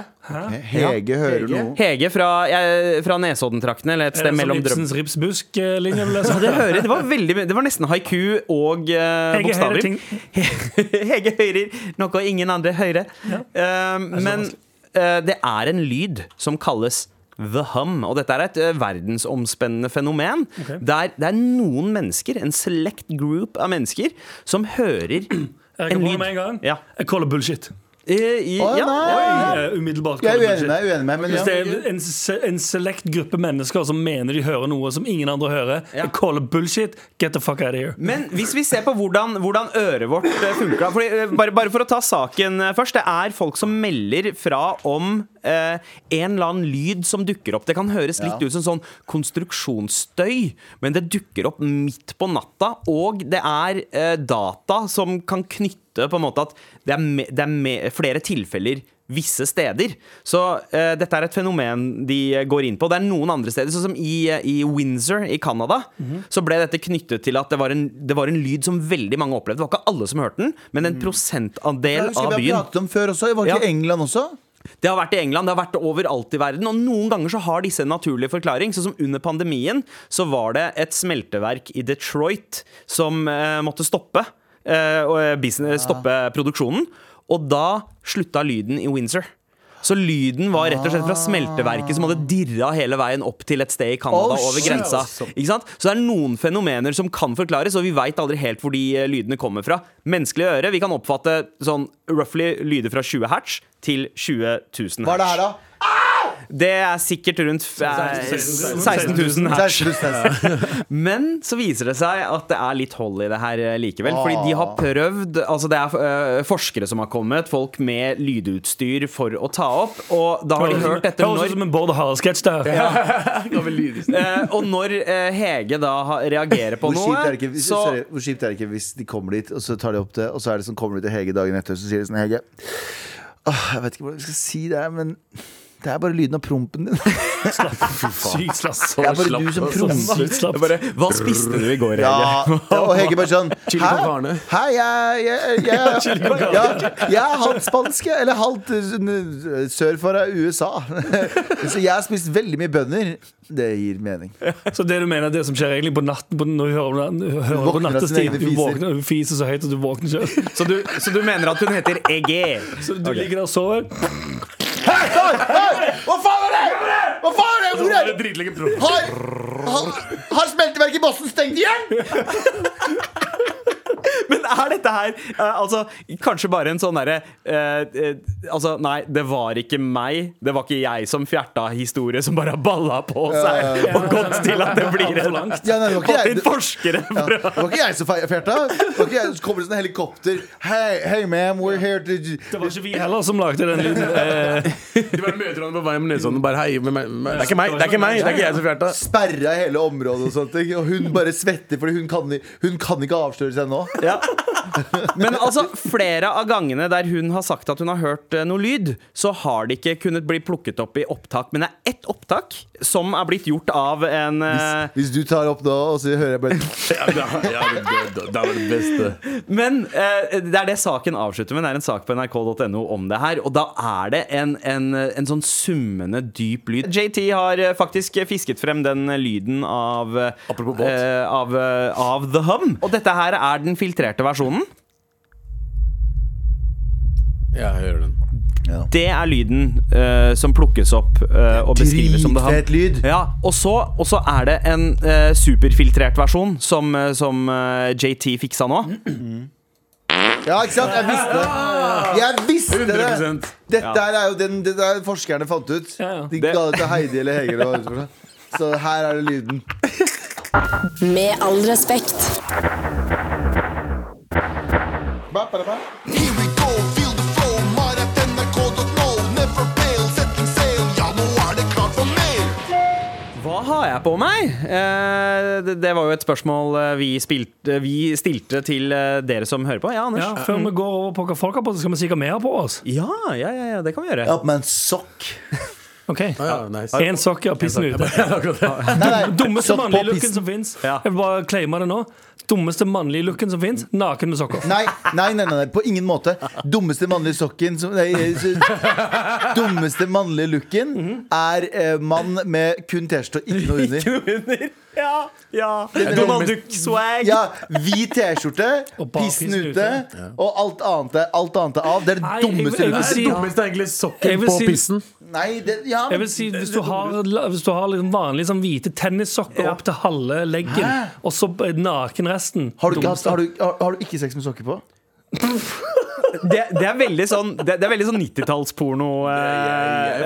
Speaker 3: Hege hører noe.
Speaker 2: Hege fra, jeg- fra Nesodden-traktene, eller et
Speaker 4: Er det
Speaker 2: sted
Speaker 4: sånn
Speaker 2: mellom drøm...
Speaker 4: Ibsens eh, ripsbusk-linje du leser?
Speaker 2: Det, hører, det, var veldig, det var nesten haiku og eh,
Speaker 4: Hege hører
Speaker 2: bokstaver.
Speaker 4: ting-
Speaker 2: Hege hører noe ingen andre hører. Eh, men eh, det er en lyd som kalles The hum, og dette er et eh, verdensomspennende fenomen. Der det er noen mennesker, en select group av mennesker, som hører
Speaker 4: Jeg
Speaker 2: en
Speaker 4: kan få det
Speaker 2: lyd.
Speaker 4: med en gang.
Speaker 2: Ja.
Speaker 4: Jeg caller bullshit.
Speaker 2: Eh, i-
Speaker 3: Å,
Speaker 2: ja,
Speaker 3: nei.
Speaker 2: ja.
Speaker 4: Eh, Umiddelbart.
Speaker 3: Jeg
Speaker 4: caller
Speaker 3: er uenig
Speaker 4: bullshit.
Speaker 3: med deg, uenig med deg, men
Speaker 4: Hvis det
Speaker 3: ja.
Speaker 4: er en, se- en select gruppe mennesker som mener de hører noe som ingen andre hører, jeg caller bullshit. Get the fuck out of here.
Speaker 2: Men hvis vi ser på hvordan, hvordan øret vårt eh, funker da, fordi, eh, bare, bare for å ta saken eh, først. Det er folk som melder fra om eh, en eller annen lyd som dukker opp. Det kan høres litt ut som sånn konstruksjonsstøy, men det dukker opp midt på natta. Og det er eh, data som kan knytte på en måte at det er, me, det er me, flere tilfeller visse steder. Så eh, dette er et fenomen de går inn på. Det er noen andre steder, sånn som i, eh, i Windsor i Canada, så ble dette knyttet til at det var, en, det var en lyd som veldig mange opplevde. Det var ikke alle som hørte den, men en prosentandel
Speaker 3: Jeg Mm. husker
Speaker 2: av
Speaker 3: vi har
Speaker 2: byen.
Speaker 3: pratet om før også. Var det ikke
Speaker 2: Ja.
Speaker 3: England også?
Speaker 2: Det har vært i England, det har vært overalt i verden, og noen ganger så har disse en naturlig forklaring. Sånn som under pandemien så var det et smelteverk i Detroit som eh, måtte stoppe, eh, og business, stoppe produksjonen, og da slutta lyden i Windsor. Så lyden var rett og slett fra smelteverket som hadde dirra hele veien opp til et sted i Canada
Speaker 3: Oh,
Speaker 2: over
Speaker 3: shit.
Speaker 2: grensa. Ah, Ikke sant? Så det er noen fenomener som kan forklares, og vi veit aldri helt hvor de eh, lydene kommer fra. Menneskelig øre, vi kan oppfatte sånn roughly lyder fra 20 hertz til 20 000 hertz.
Speaker 3: Hva er det her, da?
Speaker 2: Det er sikkert rundt f- eh, 16 000 hertz.
Speaker 3: Kjæresten din.
Speaker 2: Men så viser det seg at det er litt hold i det her eh, likevel. Fordi de
Speaker 4: Ah.
Speaker 2: har prøvd Altså det er eh, forskere som har kommet, folk med lydutstyr for å ta opp. Og da har de hørt
Speaker 4: Det
Speaker 2: dette
Speaker 4: høres ut
Speaker 2: når
Speaker 4: som en Bård Harald-sketsj der.
Speaker 2: eh, Og når eh, Hege da ha- reagerer på
Speaker 3: Hvor kjipt, er det
Speaker 2: noe,
Speaker 3: ikke,
Speaker 2: så
Speaker 3: sorry, hvor kjipt er det ikke hvis de kommer dit, og så tar de opp det, og så er det sånn, kommer de til Hege dagen etter, og så sier de sånn Hege, åh, jeg vet ikke hvordan vi skal si det, her, men det er bare lyden av prompen din. Det
Speaker 4: Sykt slass.
Speaker 3: er bare du som promper.
Speaker 4: Sykt slapp.
Speaker 2: bare, Hva spiste du i går, Hege?
Speaker 3: Ja, og Hege bare sånn
Speaker 5: Chili
Speaker 3: Hæ?
Speaker 5: con carne.
Speaker 3: Hæ, jeg, jeg, jeg, ja, jeg er halvt spansk, jeg, eller halvt eh, sør for USA. Så jeg har spist veldig mye bønner. Det gir mening.
Speaker 4: Så det du mener er det som skjer egentlig på natten på, når du hører, om det- hører på
Speaker 3: våkner av sine
Speaker 4: nattestid?
Speaker 3: egne
Speaker 4: Du
Speaker 3: fiser.
Speaker 4: våkner, hun fiser så høyt at du våkner selv.
Speaker 2: Så, du, så du mener at hun heter Ege?
Speaker 4: Så du ligger der og sover.
Speaker 3: Hei, hei, Hva faen er det?! Hva faen er det? Hvor er det?
Speaker 5: Dritlenge
Speaker 3: Har, har, har smelteverket i Boston stengt igjen?
Speaker 2: Men er dette her eh, altså, kanskje bare en sånn derre eh, eh, Altså, nei, det var ikke meg. Det var ikke jeg som fjerta historie som bare balla på seg og gått til at det blir en
Speaker 3: Ja, nei, det var ikke
Speaker 2: Fått
Speaker 3: jeg.
Speaker 2: inn forskere for
Speaker 3: Det
Speaker 2: å
Speaker 3: var ikke jeg som fe- fjerta. Det var ikke jeg som kommer det sånn helikopter. Hey, hey ma'am, we're here to
Speaker 4: Det var ikke vi heller som lagde den lyden. Eh,
Speaker 5: De bare møter han på vei med nesen og bare hei. hvem er- Det er ikke meg, det er ikke meg, det er ikke jeg som fjerta.
Speaker 3: Sperra hele området og sånt. ikke? Og hun bare svetter, fordi hun kan, i- hun kan ikke avsløre seg nå.
Speaker 2: ja. Men altså, flere av gangene der hun har sagt at hun har hørt eh, noe lyd, så har det ikke kunnet bli plukket opp i opptak. Men det er ett opptak som er blitt gjort av en eh,
Speaker 3: Hvis du tar opp nå, og så hører jeg bare
Speaker 5: Ja, da- ja, det- det- Det var det beste.
Speaker 2: Men eh, det er det saken avslutter med. Det er en sak på nrk.no om det her. Og da er det en, en, en sånn summende dyp lyd. JT har eh, faktisk fisket frem den lyden av eh,
Speaker 5: Apropos båt.
Speaker 2: eh, av, eh, av The Hum. Og dette her er den filtrerte versjonen.
Speaker 5: Ja, jeg hører den.
Speaker 2: Det er lyden eh, som plukkes opp eh, og beskrives som The Hum.
Speaker 3: Dritfet lyd.
Speaker 2: Ja, og så, og så er det en eh, superfiltrert versjon som, eh, som eh, JT fiksa nå.
Speaker 3: Ja, ikke sant? Jeg visste det. Jeg visste det!
Speaker 5: 100
Speaker 3: Dette her er jo den, det der forskerne fant ut.
Speaker 4: Ja, ja.
Speaker 3: De
Speaker 2: Det-
Speaker 3: ga det til Heidi eller Hege. Eller hva det var. så her er det lyden.
Speaker 6: Med all respekt.
Speaker 2: Hva har jeg på meg? Eh, det, det var jo et spørsmål eh, vi, spilte, vi stilte til eh, dere som hører på. Ja, Anders?
Speaker 4: ja, før vi går over på hva folk har på, så skal vi si hva vi har på oss.
Speaker 2: Ja, ja, ja, ja det kan vi gjøre.
Speaker 3: Jeg har på meg en sokk.
Speaker 4: Ok,
Speaker 5: Ja, Ah, nice.
Speaker 4: Én sokk, ja. Pissen er ute.
Speaker 3: Nei, nei,
Speaker 4: Dummeste
Speaker 3: sokk på
Speaker 4: mannlige looken
Speaker 3: pissen.
Speaker 4: som fins.
Speaker 2: Ja.
Speaker 4: Jeg vil bare claime det nå. Dummeste mannlige looken som fins. Naken med sokker.
Speaker 3: Nei, nei, nei, nei, nei, på ingen måte. Dummeste mannlige sokken som, nei, så- Dummeste mannlige looken er eh, mann med kun T-skjorte og ikke noe under.
Speaker 2: Ja, ja. Donald Duck-swag.
Speaker 3: Ja, Hvit T-skjorte,
Speaker 4: Og bare
Speaker 3: pissen
Speaker 4: pissen
Speaker 3: ute, og alt annet, er- alt annet er av. Det er
Speaker 4: Nei,
Speaker 3: det
Speaker 4: jeg-
Speaker 3: dummeste
Speaker 4: jeg vil
Speaker 3: looken.
Speaker 4: si-
Speaker 5: Det dummeste er egentlig
Speaker 4: Jeg
Speaker 5: sokken
Speaker 4: vil
Speaker 5: på
Speaker 4: si-
Speaker 5: pissen.
Speaker 3: Nei, det, ja,
Speaker 4: Jeg vil si, Hvis du har, hvis du har liksom vanlige sånn hvite tennissokker opp til halve leggen,
Speaker 3: Hæ?
Speaker 4: og så naken resten
Speaker 3: har, du ikke, hatt-
Speaker 4: Dummeste.
Speaker 3: har, du, har, har du ikke sex med sokker på?
Speaker 2: Det, det er veldig sånn Det, det er veldig sånn eh, 90-tallsporno-ting.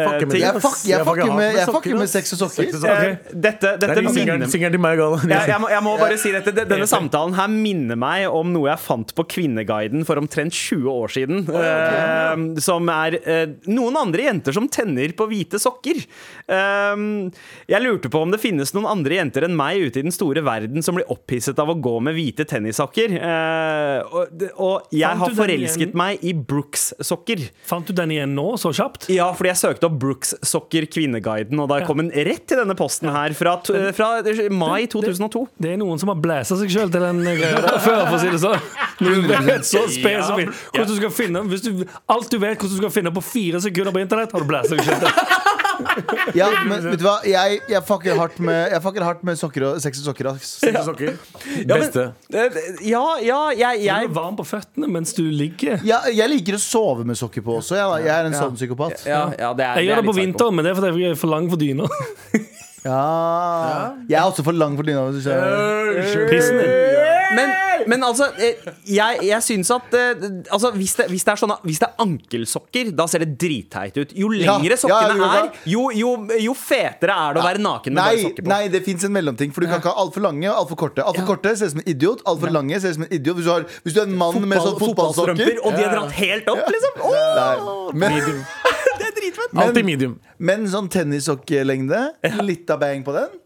Speaker 5: Jeg fucker med
Speaker 3: Eh,
Speaker 5: det.
Speaker 3: Jeg, fuck, jeg,
Speaker 5: Jeg fucker
Speaker 3: fucker med,
Speaker 5: hardt med
Speaker 3: jeg fucker
Speaker 5: sokker,
Speaker 3: med
Speaker 5: ass.
Speaker 3: sex og sokker. Eh,
Speaker 5: Sex og sokker.
Speaker 2: Eh, Dette,
Speaker 5: Det er
Speaker 2: dette
Speaker 5: liksom- de
Speaker 2: minner
Speaker 5: singelen- Singelen til meg er gal.
Speaker 2: jeg, jeg, må, jeg må bare si dette Det- Denne samtalen her minner meg om noe jeg fant på Kvinneguiden for omtrent 20 år siden. eh, som er eh, noen andre jenter som tenner på hvite sokker. Eh, jeg lurte på om det finnes noen andre jenter enn meg ute i den store verden som blir opphisset av å gå med hvite tennissokker. Eh, og, og jeg
Speaker 4: Fant
Speaker 2: har
Speaker 4: du den
Speaker 2: forelsket
Speaker 4: igjen?
Speaker 2: kjøpt meg i Brooks-sokker.
Speaker 4: Fant du den igjen nå, så kjapt?
Speaker 2: Ja, fordi jeg søkte opp Brooks-sokker Kvinneguiden, og da kom den rett til denne posten her fra, to- fra mai 2002.
Speaker 4: Det er noen som har blæsa seg sjøl til den eh, greia der før, for å si det sånn. Når du vet så spesifikt hvordan du skal finne hvis du, Alt du vet hvordan du skal finne på fire sekunder på internett, har du blæsa deg sjøl til.
Speaker 3: Ja, men vet du hva? Jeg, jeg, fucker, hardt med, jeg fucker hardt med sokker og sexy sokker. ass.
Speaker 5: Sexy sokker.
Speaker 2: Ja, men-
Speaker 5: Beste.
Speaker 2: Eh, Ja, ja, jeg,
Speaker 4: Jeg er
Speaker 2: jeg
Speaker 4: varm på føttene mens du ligger.
Speaker 3: Ja, jeg liker å sove med sokker på også. Jeg, da. jeg er en sånn psykopat.
Speaker 2: ja, ja, det er,
Speaker 4: Jeg gjør
Speaker 2: er
Speaker 4: det på
Speaker 2: litt psycho.
Speaker 4: vinteren, men det er fordi jeg er for lang for dyna.
Speaker 3: Ja. Jeg er også for lang for dyna. hvis du skjønner.
Speaker 4: Pissen din.
Speaker 2: Men, men altså, eh, jeg, jeg syns at eh, altså, hvis, det, hvis, det er sånne, hvis det er ankelsokker, da ser det dritteit ut. Jo
Speaker 3: Ja,
Speaker 2: lengre
Speaker 3: ja,
Speaker 2: sokkene
Speaker 3: jo, ja.
Speaker 2: er, jo, jo, jo fetere er det å være naken med bare
Speaker 3: Nei,
Speaker 2: sokker på.
Speaker 3: nei, det fins en mellomting. For du kan ikke ha altfor lange og altfor korte. Altfor korte ser ut som en idiot. Altfor lange ser ut som en idiot Hvis du, har, hvis du er en mann med sånn fotballsokker
Speaker 2: og de er dratt helt opp, liksom. Åh,
Speaker 3: Nei. men,
Speaker 2: det er dritfett!
Speaker 5: Alltid medium.
Speaker 3: men sånn tennissokkelengde, litt av bang på den.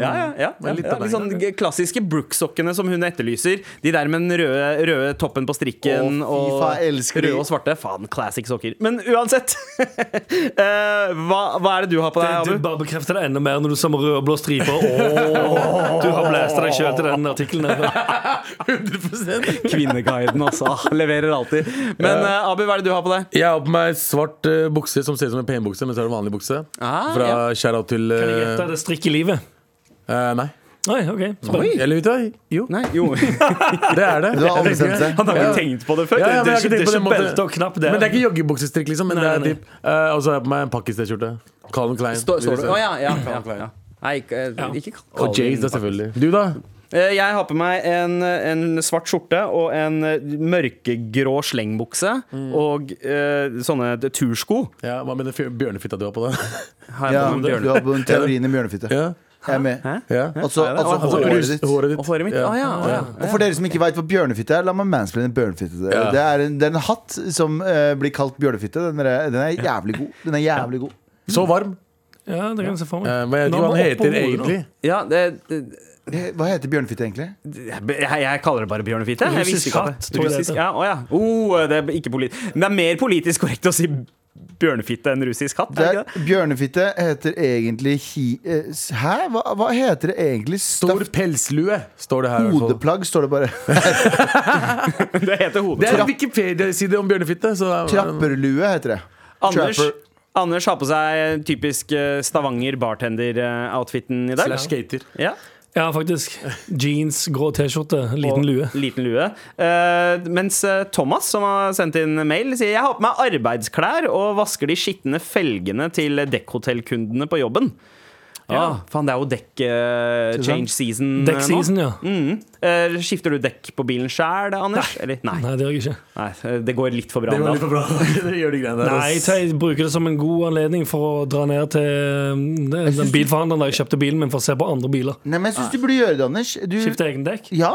Speaker 2: Ja, ja, ja, ja,
Speaker 5: litt
Speaker 2: ja.
Speaker 5: av
Speaker 2: De
Speaker 5: begge.
Speaker 2: sånn g- klassiske Brooks-sokkene som hun etterlyser. De der med den røde, røde toppen på strikken
Speaker 3: Å, fy faen, jeg elsker
Speaker 2: og
Speaker 3: de.
Speaker 2: røde og svarte. Faen, classic sokker. Men uansett, eh, hva, hva er det du har på deg,
Speaker 4: Du
Speaker 2: Abu?
Speaker 4: bare bekrefter det enda mer når du ser med røde og blå striper. Åh, du har blæsta deg sjøl til den artikkelen.
Speaker 5: Eh.
Speaker 4: her.
Speaker 5: 100
Speaker 2: Kvinneguiden, altså. Leverer alltid. Men eh, Abu, hva er det du har på deg?
Speaker 5: Jeg har på meg svart eh, bukse som ser ut som en penbukse, men så er det vanlig bukse.
Speaker 2: Ah,
Speaker 5: Fra shout-out til
Speaker 4: Kan jeg
Speaker 5: eh,
Speaker 4: gjette det strikk i livet?
Speaker 5: eh, Nei.
Speaker 4: Oi, ok. Spennende.
Speaker 5: Eller vet du hva? Jo,
Speaker 2: Nei, jo Han
Speaker 5: det er det.
Speaker 3: Du har ombestemt deg.
Speaker 2: har ikke
Speaker 5: Ja.
Speaker 2: tenkt på det før.
Speaker 5: Ja, ja, men
Speaker 2: det,
Speaker 5: jeg har ikke
Speaker 2: det,
Speaker 4: Det er
Speaker 5: tenkt på den
Speaker 4: ikke
Speaker 5: måten.
Speaker 4: belte og knapp, det.
Speaker 5: Men det er ikke joggebuksestrikk, liksom. Men
Speaker 4: Nei,
Speaker 5: det
Speaker 4: nei.
Speaker 5: er typ eh, Og så har jeg på meg en pakkis-T-skjorte. Colin Klein.
Speaker 2: står, står det. Å, ja, ja,
Speaker 5: Calvin
Speaker 2: ja,
Speaker 5: Klein.
Speaker 2: ja. Nei, ikke, eh, ikke Calvin.
Speaker 5: Og Jays, da, selvfølgelig. Du, da?
Speaker 2: Eh, Jeg har på meg en, en svart skjorte og en eh, mørkegrå slengbukse og eh, sånne t- tursko.
Speaker 5: Ja, Hva med den fjø- bjørnefitta du har på deg?
Speaker 2: Har jeg
Speaker 3: Ja,
Speaker 2: på meg
Speaker 3: du
Speaker 2: bjørne.
Speaker 3: har på den teorien i bjørnefitte.
Speaker 5: ja.
Speaker 3: Jeg er med.
Speaker 5: ja.
Speaker 2: Nei,
Speaker 3: Altså,
Speaker 2: det er-
Speaker 3: altså
Speaker 5: Altså,
Speaker 3: håret
Speaker 5: rust-
Speaker 3: ditt.
Speaker 5: håret ditt.
Speaker 2: Og håret mitt?
Speaker 5: Ja.
Speaker 2: Ah, ja, ah, ja.
Speaker 3: Og for dere som ikke veit hva bjørnefitte er, la meg mansplaine bjørnefitte. Det,
Speaker 5: Ja.
Speaker 3: det, er en, det er en hatt som eh, blir kalt bjørnefitte. Den er, den er jævlig god. Den er jævlig god.
Speaker 5: Så varm.
Speaker 4: Ja, det kan jeg se for meg.
Speaker 5: Eh, men jeg vet ikke hva han heter egentlig.
Speaker 2: ja det, det,
Speaker 3: Eh, Hva heter bjørnefitte egentlig?
Speaker 2: jeg, jeg kaller det bare bjørnefitte. Jeg
Speaker 4: Russisk
Speaker 2: visste ikke at
Speaker 4: hatt,
Speaker 2: det-
Speaker 4: tror jeg det
Speaker 2: Russisk,
Speaker 4: heter.
Speaker 2: ja, å, ja. Oh, det, er ikke polit Men det er mer politisk korrekt å si bjørnefitte enn russisk hatt. Er
Speaker 3: Det
Speaker 2: det
Speaker 3: er,
Speaker 2: ikke det?
Speaker 3: bjørnefitte heter egentlig hi... eh, s- Hæ? Hva, hva heter det egentlig?
Speaker 5: Stor
Speaker 3: Staff
Speaker 5: pelslue, står det her. i hvert fall.
Speaker 3: hodeplagg, står det bare.
Speaker 2: det heter
Speaker 5: Det
Speaker 2: hodet.
Speaker 5: er en Wikipedia-side om bjørnefitte. Så
Speaker 3: Trapperlue heter det.
Speaker 2: Anders,
Speaker 3: Trapper.
Speaker 2: Anders har på seg typisk eh, Stavanger bartender-outfiten i dag.
Speaker 5: Slash skater.
Speaker 2: Ja.
Speaker 4: Ja, faktisk. Jeans, grå T-skjorte, liten lue.
Speaker 2: Liten lue. Eh, mens eh, Thomas, som har sendt inn mail, sier jeg har på meg arbeidsklær og vasker de skitne felgene til dekkhotellkundene på jobben. Ja, faen, det er jo dekk eh,
Speaker 3: Ikke sant?
Speaker 2: change season
Speaker 5: Mm.
Speaker 2: eh,
Speaker 4: Deck season, ja.
Speaker 2: nå. Mm. Eh, skifter du dekk på bilen sjæl, Anders? Nei. Eller, nei.
Speaker 4: Nei, det gjør jeg ikke.
Speaker 2: nei. eh, Det går litt for bra.
Speaker 5: Det var
Speaker 2: om
Speaker 5: litt
Speaker 2: dagen.
Speaker 5: for bra. Det gjør de greiene der.
Speaker 4: Nei,
Speaker 5: ass.
Speaker 4: jeg bruker det som en god anledning for å dra ned til eh, den bilforhandleren der jeg kjøpte bilen min, for å se på andre biler.
Speaker 3: Nei, men jeg syns du burde gjøre det, Anders. Du,
Speaker 4: Skifte egen dekk.
Speaker 3: ja.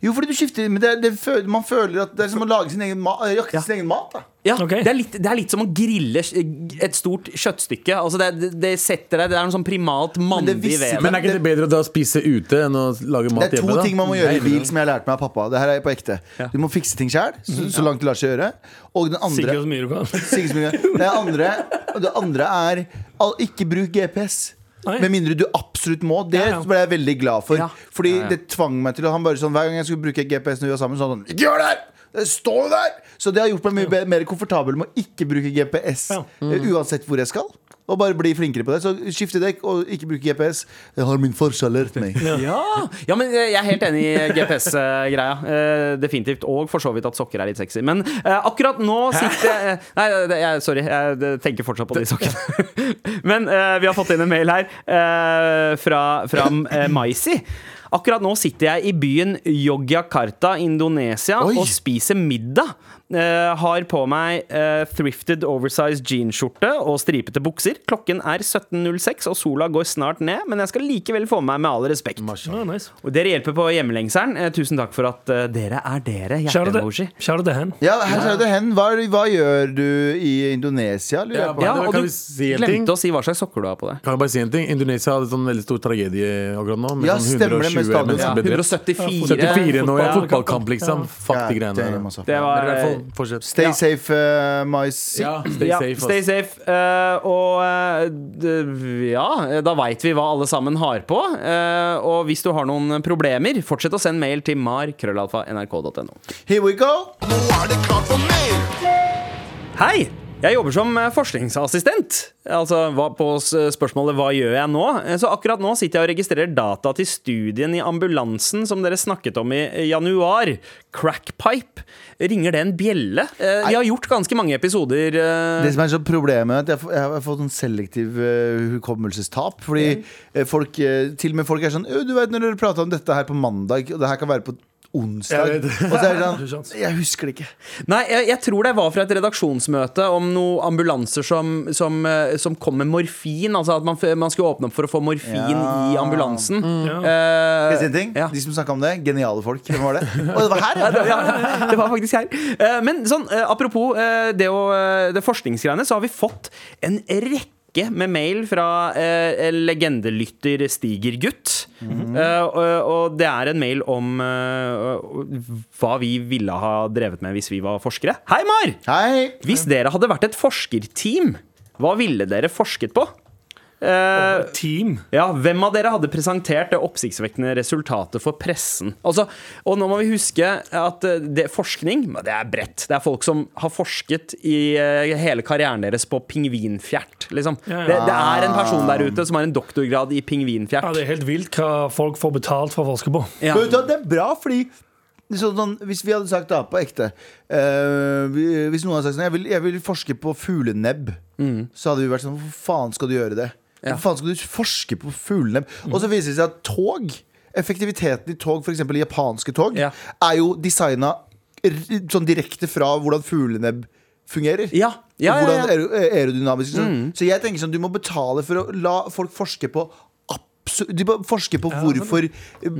Speaker 3: Jo, fordi du skifter Men det, er- det, føler- man føler at det er som å lage sin egen mat. Jakte sin egen mat, da.
Speaker 2: Ja,
Speaker 4: Ok.
Speaker 2: det, er litt, det er litt som å grille et stort kjøttstykke. Altså det, det, det setter deg Det er noe sånn primalt
Speaker 3: det
Speaker 2: mandig
Speaker 3: visste
Speaker 2: vev.
Speaker 5: Men er ikke det bedre da å spise ute enn å lage mat hjemme?
Speaker 3: Det er to
Speaker 5: da?
Speaker 3: ting man må gjøre i bil som jeg har lært meg av pappa. Det her er på ekte Du må fikse ting sjøl, så, så langt det lar seg gjøre. Og den andre,
Speaker 4: Sikkert så mye du kan.
Speaker 3: Sikkert så mye. det, andre det andre er al- ikke bruk GPS.
Speaker 4: Nei.
Speaker 3: Med mindre du absolutt må. Det
Speaker 4: Ja, ja.
Speaker 3: ble jeg veldig glad for.
Speaker 2: Ja.
Speaker 3: Fordi
Speaker 2: Ja, ja.
Speaker 3: det tvang meg til å Han bare sånn Hver gang jeg skulle bruke GPS når vi var sammen, så var han sånn Ikke gjør det! her! Det står jo der! Så det har gjort meg mye be- mer komfortabel med å ikke bruke GPS
Speaker 4: Ja.
Speaker 3: eh, uansett hvor jeg skal. Og bare bli flinkere på det. Så skifte dekk og ikke bruke GPS. Det har min forskjell lært meg.
Speaker 2: Ja. ja, men eh, jeg er helt enig i GPS-greia. Eh, Definitivt. Og for så vidt at sokker er litt sexy. Men eh, akkurat nå sitter eh, Nei, det- jeg, sorry. Jeg det- tenker fortsatt på de sokkene. Men eh, vi har fått inn en mail her eh, fra, fra eh, Maisi. Akkurat nå sitter jeg i byen Yogyakarta, Indonesia,
Speaker 5: Oi.
Speaker 2: og spiser middag. Eh, har på meg eh, thrifted oversized jeanskjorte og stripete bukser. minutter. Klokken er 17.06, og sola går snart ned. Men jeg skal likevel få med meg med all respekt.
Speaker 4: Ja, Ah, nice.
Speaker 2: Og dere hjelper på hjemmelengselen. Eh, tusen takk for at eh, dere er dere.
Speaker 4: Shout out
Speaker 2: Hjerte-emoji.
Speaker 4: til- shout out til hen.
Speaker 3: Ja, her ser du hen. Hva, hva gjør du i Indonesia? lurer jeg på?
Speaker 2: Ja,
Speaker 5: Kan
Speaker 2: og du
Speaker 5: vi si en ting?
Speaker 2: glemte å si hva slags sokker du har på deg.
Speaker 5: Kan jeg bare si en ting? Indonesia hadde sånn veldig stor tragedie akkurat nå. Med
Speaker 3: Ja,
Speaker 5: sånn
Speaker 3: stemmer det, med stadion,
Speaker 5: 120 mennesker
Speaker 3: ja.
Speaker 5: ble drept. 74 nå, ja.
Speaker 4: fotball-
Speaker 5: Fotballkamp, liksom. Fuck de
Speaker 3: Ja,
Speaker 5: greiene
Speaker 3: damn,
Speaker 5: der.
Speaker 3: altså.
Speaker 2: Det
Speaker 5: Men i
Speaker 2: var eh,
Speaker 5: hvert fall, fortsett.
Speaker 3: Stay safe, uh, mice.
Speaker 5: Ja, stay
Speaker 2: ja,
Speaker 5: safe. altså.
Speaker 2: Stay
Speaker 5: ass.
Speaker 2: safe. Eh, og eh, d- ja, da veit vi hva alle sammen har på. Eh, og hvis du har noen problemer, fortsett å sende mail til mar.krøllalfa.nrk.no.
Speaker 3: Here we go.
Speaker 2: Hei! Jeg jobber som eh, forskningsassistent. Altså hva på s- spørsmålet 'hva gjør jeg nå?' Eh, Så akkurat nå sitter jeg og registrerer data til studien i ambulansen som dere snakket om i eh, januar. Crackpipe. Ringer det en bjelle? Eh, Jeg har gjort ganske mange episoder eh,
Speaker 3: Det som er så problemet er at jeg, får- jeg har fått sånn selektiv eh, hukommelsestap. Fordi eh, folk, eh, til og med folk er sånn «Ø, Du vet når dere prata om dette her på mandag, og det her kan være på onsdag.
Speaker 5: Jeg vet
Speaker 3: Og
Speaker 5: det.
Speaker 3: så er det sånn
Speaker 4: Sjans.
Speaker 3: Jeg husker det ikke.
Speaker 2: Nei, jeg, jeg tror det var fra et redaksjonsmøte om noen ambulanser som, som, eh, som kom med morfin. Altså at man, f- man skulle åpne opp for å få morfin i ambulansen.
Speaker 3: Mm. Skal
Speaker 2: Eh,
Speaker 3: jeg si en ting?
Speaker 2: ja.
Speaker 3: De som snakka om det, geniale folk. Hvem var det? Å, det var her, ja.
Speaker 2: ja, ja, det var faktisk her. Eh, Men sånn, eh, apropos eh, det, å, eh, det forskningsgreiene, så har vi fått en rekke med mail fra eh, legendelytter Stigergutt. Eh, og- og det er en mail om eh, hva vi ville ha drevet med hvis vi var forskere. Hei, Mar!
Speaker 3: Hei.
Speaker 2: Hvis dere hadde vært et forskerteam, hva ville dere forsket på? Eh,
Speaker 4: Team.
Speaker 2: ja, Hvem av dere hadde presentert det oppsiktsvekkende resultatet for pressen? Altså, og nå må vi huske at eh, det, forskning men det er bredt. Det er folk som har forsket i eh, hele karrieren deres på pingvinfjert. Liksom.
Speaker 4: Ja, ja.
Speaker 2: Det, det er en person der ute som har en doktorgrad i pingvinfjert.
Speaker 4: Ja, det er helt vilt hva folk får betalt for å forske på.
Speaker 2: Ja.
Speaker 3: Men vet du hva, det er bra, fordi Sånn, sånn, hvis vi hadde sagt da, på ekte eh, vi- Hvis noen hadde sagt sånn Jeg vil, jeg vil forske på fuglenebb
Speaker 2: Mm.
Speaker 3: Så hadde vi vært sånn, hvor faen skal du gjøre det? Hvor faen skal du forske på fuglenebb? Og så viser det seg at tog Effektiviteten i tog, for eksempel japanske tog
Speaker 2: Ja.
Speaker 3: Er jo designet r- Sånn direkte fra hvordan fuglenebb fungerer
Speaker 2: Ja, ja,
Speaker 3: Og
Speaker 2: ja, ja.
Speaker 3: hvordan aero- aerodynamisk sånn. Så jeg tenker sånn, du må betale for å la folk forske på absu- de må forske på hvorfor